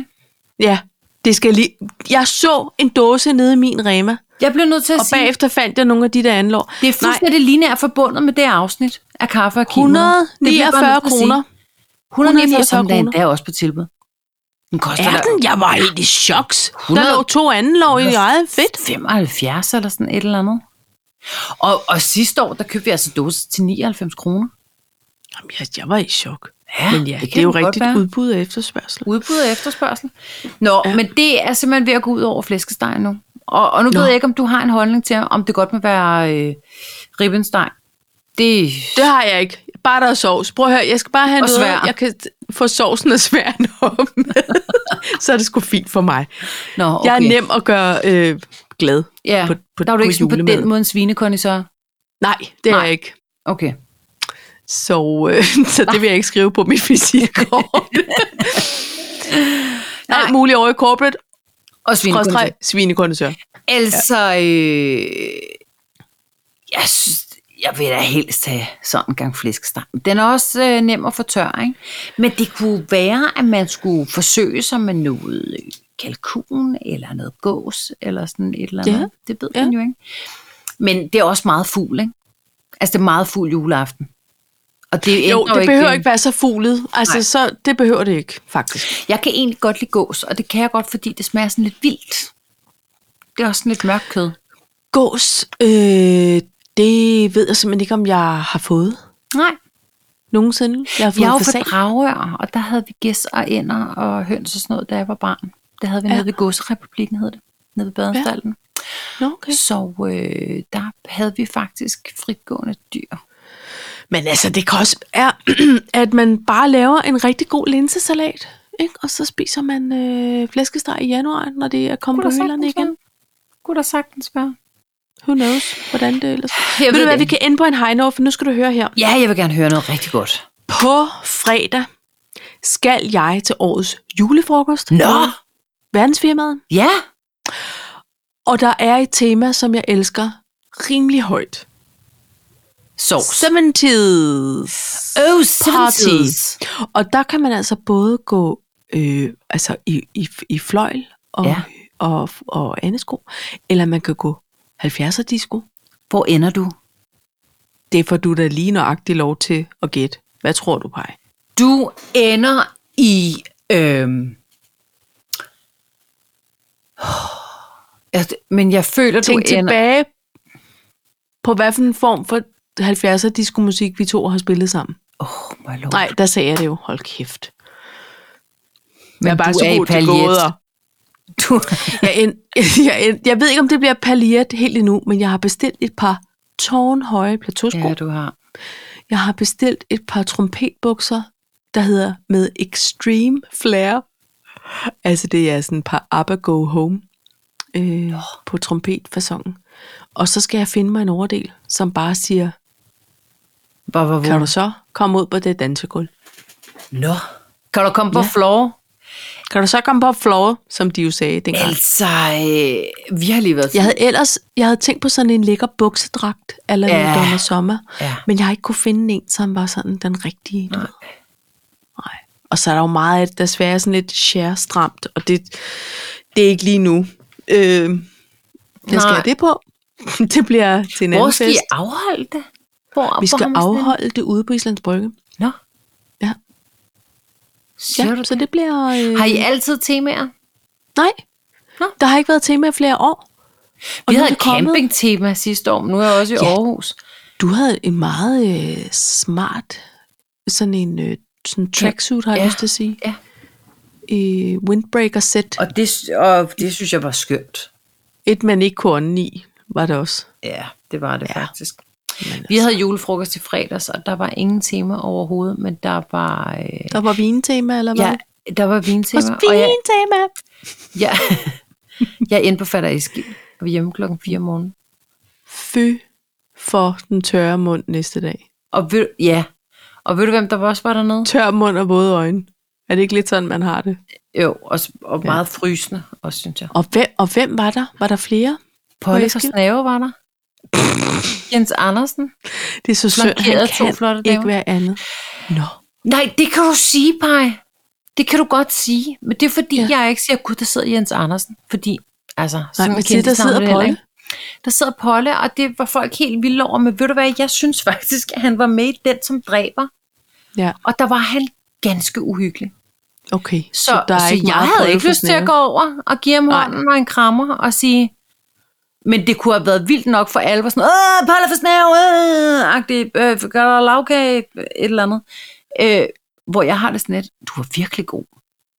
Ja, det skal lige... Jeg så en dåse nede i min Rema, Jeg bliver nødt til at og sige, bagefter fandt jeg nogle af de der anlår. det er fuldstændig lineært forbundet med det afsnit af kaffe og kimono. Det bliver jeg bare nødt 149 til at sige. kroner. 149 kroner. kroner. Det er også på tilbud. Den koster Er da den? Jeg var helt i choks. Der 100 lå to anlår i eget fedt. 75 eller sådan et eller andet. Og, og sidste år, der købte vi altså dåser til 99 kroner. Jamen, jeg, jeg var i chok. Ja, Men ja, det, det er jo rigtigt udbud og efterspørgsel. Udbud og efterspørgsel. Nå, Ja. ja. men det er simpelthen ved at gå ud over flæskesteg nu. Og, og nu Nå. Nå. ved jeg ikke, om du har en holdning til, om det godt må være øh, ribbensteg. Det, Det har jeg ikke. Bare der er sovs. Prøv at høre, jeg skal bare have Og noget, svær. jeg kan t- få sovsen og sværen op med. Så er det sgu fint for mig. Nå, okay. Okay. Jeg er nem at gøre øh, glad. ja. på- på- der er du på ikke sådan på julemad. den måde en svinekonni så. Nej, det er Nej. jeg ikke. Okay. Så, øh, så det vil jeg ikke skrive på mit visitkort. Alt muligt over i corporate. Og svinekonni. Skrådstræk, svinekondensør. Altså, øh, jeg synes, jeg vil da helst have sådan en gang flæskesteg. Den er også øh, nem at fortørre, ikke? Men det kunne være, at man skulle forsøge sig med noget øh, kalkun eller noget gås eller sådan et eller Ja. andet. Det ved Ja. man jo ikke. Men det er også meget fugl, ikke? Altså, det er meget fugl juleaften. Og det Jo, ændrer det behøver den- ikke være så fuglet. Altså, Nej. så, det behøver det ikke, faktisk. Jeg kan egentlig godt lide gås, og det kan jeg godt, fordi det smager sådan lidt vildt. Det er også sådan lidt mørkt kød. Gås, øh, det ved jeg simpelthen ikke, om jeg har fået Nej, nogensinde. Jeg har fået Jeg er jo fasan. fra Dragør, og der havde vi gæs og ænder og høns og sådan noget, da jeg var barn. Det havde vi Ja. ja. nede ved Godserepublikken, hed det. Nede ved badestallen. Nå, Ja. okay. Så øh, der havde vi faktisk fritgående dyr. Men altså, det kan også være, at man bare laver en rigtig god linsesalat, ikke? og så spiser man øh, flæskesteg i januar, når det er kommet på hylderne igen. Kunne der sagtens være. Who knows, hvordan det ellers... Jeg Jeg ved ved du hvad, det vi kan ende på en high note, for nu skal du høre her. Ja, jeg vil gerne høre noget rigtig godt. På fredag skal jeg til årets julefrokost. Nå! i Verdensfirmaet. Ja! Og der er et tema, som jeg elsker rimelig højt. Sovs. 70's. Oh, parties. Og der kan man altså både gå øh, altså i, i, i fløjl og, ja. Ja. og, og andesko, eller man kan gå 70'er disco. Hvor ender du? Det får du da lige nøjagtigt lov til at gætte. Hvad tror du, Paj? Du ender i... Øhm, Altså, men jeg føler, Tænk du ender... tilbage på, hvad for en form for 70'er disco-musik, vi to har spillet sammen. Åh, oh, my lord. Nej, der sagde jeg det jo. Hold kæft. Men jeg er bare du så er i god til paljet. gåder. Du, Jeg, end, jeg, end, jeg ved ikke, om det bliver paljet helt endnu, men jeg har bestilt et par tårnhøje plateausko. ja, Ja. du har. Jeg har bestilt et par trompetbukser, der hedder med extreme flair. Altså det er sådan et par ABBA Go Home øh, på trompetfasongen. Og så skal jeg finde mig en overdel, som bare siger, Hvor, hvor, hvor. kan du så komme ud på det dansegulv? Nå. Kan du komme på Ja. ja. floor? Kan du så komme på floor, som de jo sagde dengang? Altså, øh, vi har lige været... Jeg havde ellers jeg havde tænkt på sådan en lækker buksedragt, eller ja. Ja. Donna Sommer, Ja. men jeg har ikke kunne finde en, som var sådan den rigtige. Nej. Nej. Og så er der jo meget af det, der desværre er sådan lidt share-stramt, og det, det er ikke lige nu. Øh, jeg skal Nej. have det på. det bliver til en Hvor anden skal I fest. afholde det? Hvor, Vi hvor skal har man sådan en- afholde det ude på Islands Brygge. Nå. Ja. Siger Ja, du så det bliver... Øh, Har I altid temaer? Nej, Nå. der har ikke været tema i flere år. nu Vi er havde det kommet. campingtema sidste år, men nu er jeg også i Ja. Aarhus. Du havde en meget øh, smart, sådan en øh, sådan tracksuit, har jeg Ja. lyst til at sige. Ja. Øh, windbreaker sæt. Og det, og det synes jeg var skønt. Et, man ikke kunne ånde i, var det også. Ja, det var det Ja. ja. faktisk. altså- Men, Vi havde julefrokost i fredags, og der var ingen tema overhovedet, men der var... Øh, der var vintema, eller hvad? ja, der var der vintema, var og jeg, vintema. jeg, jeg endte på fatter i ski, og vi er hjemme klokken 4 om morgenen. Fy for den tørre mund næste dag. Og ved, ja. Og ved du, hvem der også var dernede? Tør mund og våde øjne. Er det ikke lidt sådan, man har det? Jo, og, s- og meget ja. frysende også, synes jeg. Og hvem, og hvem var der? Var der flere? Polly fra Eskil? Snave var der. Jens Andersen. Det er så synd, han Flankeret to kan flotte damer. ikke være andet. Nå. Nej, det kan du sige, Paj. Det kan du godt sige. Men det er fordi, ja. jeg ikke siger, gud, der sidder Jens Andersen. Fordi, altså, Nej, sådan men se, kendte der savner sidder det heller Polly. ikke. Der sidder Polle, og det var folk helt vilde over. Men ved du hvad, jeg synes faktisk, at han var med i Den, som dræber. Ja, Og der var han ganske uhyggelig. okay. Så, så, der så meget jeg havde Polly ikke for lyst til at snævre. gå over og give ham Nej. hånden og en krammer og sige, men det kunne have været vildt nok for alle, var sådan, åh, Palle for snæv, øh, agtig, øh, gør der lavkage, øh, et eller andet. Øh, hvor jeg har det sådan lidt, du var virkelig god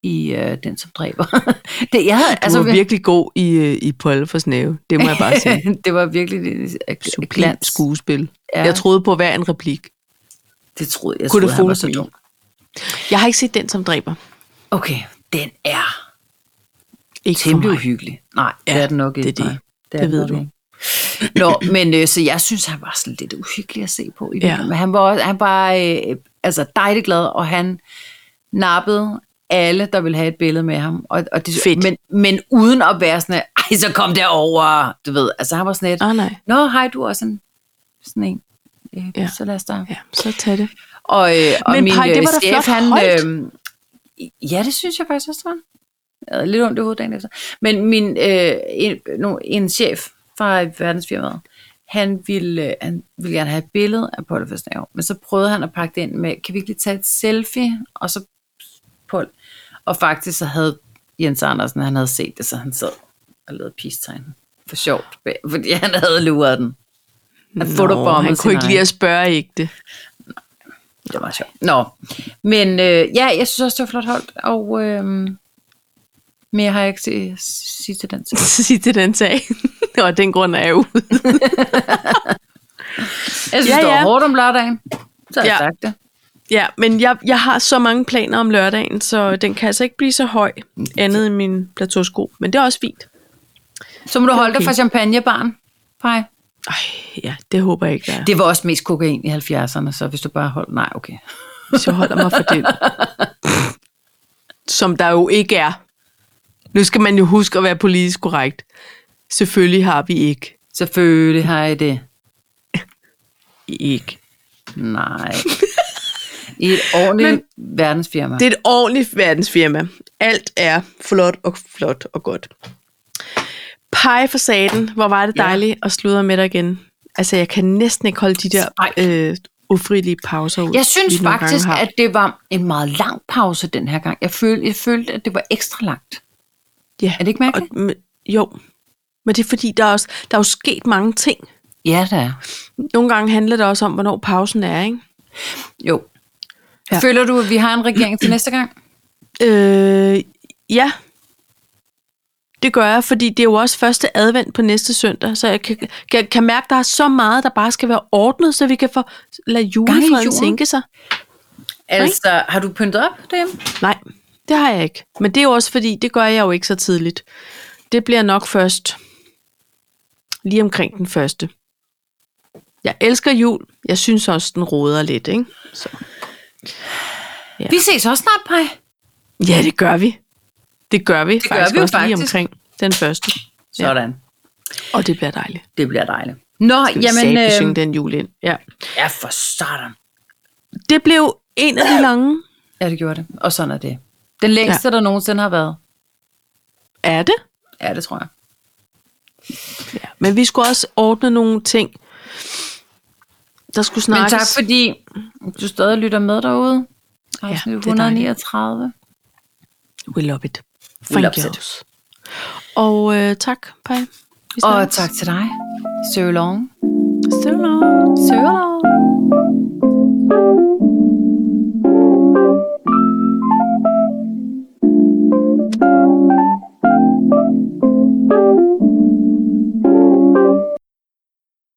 i øh, den, som dræber. det, jeg havde, Du altså, var virkelig god i, øh, i Polly for snæve. Det må jeg bare sige. det var virkelig et, et, et Sublimt glans. skuespil. Ja. Ja. Jeg troede på hver en replik. Det troede jeg, Kunne troede, det han var fås så mig? dum. Jeg har ikke set den, som dræber. Okay, den er Ikke for temmelig mig. uhyggelig. Nej, ja, det Ja, er den nok det er ikke. det. nej. er Det den ved nok du. ikke. Nå, men øh, så jeg synes, han var sådan lidt uhyggelig at se på. I ja. Ja. Men han var, også- han var øh, altså dejligt glad, og han nappede alle, der ville have et billede med ham. Og, og det, Fedt. Men, men uden at være sådan, ej, så kom derover, du ved. Altså han var sådan lidt, Åh oh, nej. nå, hej, du er også en, sådan en. Øh, ja. Ja. Så lad os starte. Ja, så tag det. Og, øh, og Men min Paj, det øh, var da chef, flot han... holdt. Øh, ja, det synes jeg faktisk også, det var. Jeg havde lidt ondt i hovedet dagen efter. Men min, øh, en, no, en chef fra verdensfirmaet, han ville, øh, han ville gerne have et billede af Paul Fastnave, men så prøvede han at pakke det ind med, kan vi ikke lige tage et selfie, og så Paul. Og faktisk så havde Jens Andersen, han havde set det, så han sad og lavede peace-tegnen. For sjovt, fordi han havde luret den. Han fotobombede han sin kunne ikke egen. lige at spørge ikke det. Det var sjovt. Nå, men øh, ja, jeg synes også, det var flot holdt, og øh, mere har jeg ikke til at sige til den sag. Så sig til den sag. Og den grund er jeg ude. Jeg synes, Ja, ja, ja. det var ja. hårdt om lørdagen, så har ja. jeg Ja. sagt det. Ja, men jeg, jeg har så mange planer om lørdagen, så den kan altså ikke blive så høj andet end min plateausko. Men det er også fint. Så må du holde okay. dig Okay. fra champagnebaren, Paj. Ej, ja, det håber jeg ikke, der er. Det var også mest kokain i 70'erne, så hvis du bare holdt... Nej, okay. hvis jeg holder mig for den. Som der jo ikke er. Nu skal man jo huske at være politisk korrekt. Selvfølgelig har vi ikke. Selvfølgelig har jeg det. Ikke. Nej. I et ordentligt Men, verdensfirma. Det Det, er et ordentligt verdensfirma. Alt er flot og flot og godt. Pej for saten, hvor var det Ja. dejligt at sludre med dig igen. Altså, jeg kan næsten ikke holde de der Nej. øh, ufrilige pauser ud. jeg synes vi nogle gange faktisk, har. at det var en meget lang pause den her gang. Jeg følte, jeg følte at det var ekstra langt. ja. Er det ikke mærkeligt? Og, men, jo, men det er fordi, der er, også, der er jo sket mange ting. Ja, det er. Nogle gange handler det også om, hvornår pausen er, ikke? Jo. Ja. Ja. Føler du, at vi har en regering til næste gang? Øh, ja. Det gør jeg, fordi det er jo også første advent på næste søndag, så jeg kan, kan, kan mærke, at der er så meget, der bare skal være ordnet, så vi kan få lade julefreden jorden. sænke sig. Altså, har du pyntet op derhjemme? Nej, det har jeg ikke. Men det er jo også fordi, det gør jeg jo ikke så tidligt. Det bliver nok først lige omkring den første. Jeg elsker jul. Jeg synes også, den råder lidt, ikke? Så. Ja. Vi ses også snart, Paj. Ja, det gør vi. Det gør vi gør det faktisk vi jo også lige faktisk. omkring den første. Sådan. Og det bliver dejligt. Det bliver dejligt. Nå, Jamen, jamen... sagde, øh... Øh, synge den jul ind. Ja. ja, for sådan. Det blev en af de lange. Ja, det gjorde det. Og sådan er det. Den længste, ja. der nogensinde har været. Er det? Ja, det tror jeg. Ja. Men vi skulle også ordne nogle ting. Der skulle Men snakkes. tak, fordi du stadig lytter med derude. Afsnit det ja, er 139. We love it. We Thank love you. it. Og øh, tak, Paj. Vi Og snakkes. tak til dig. So long. So long. So long.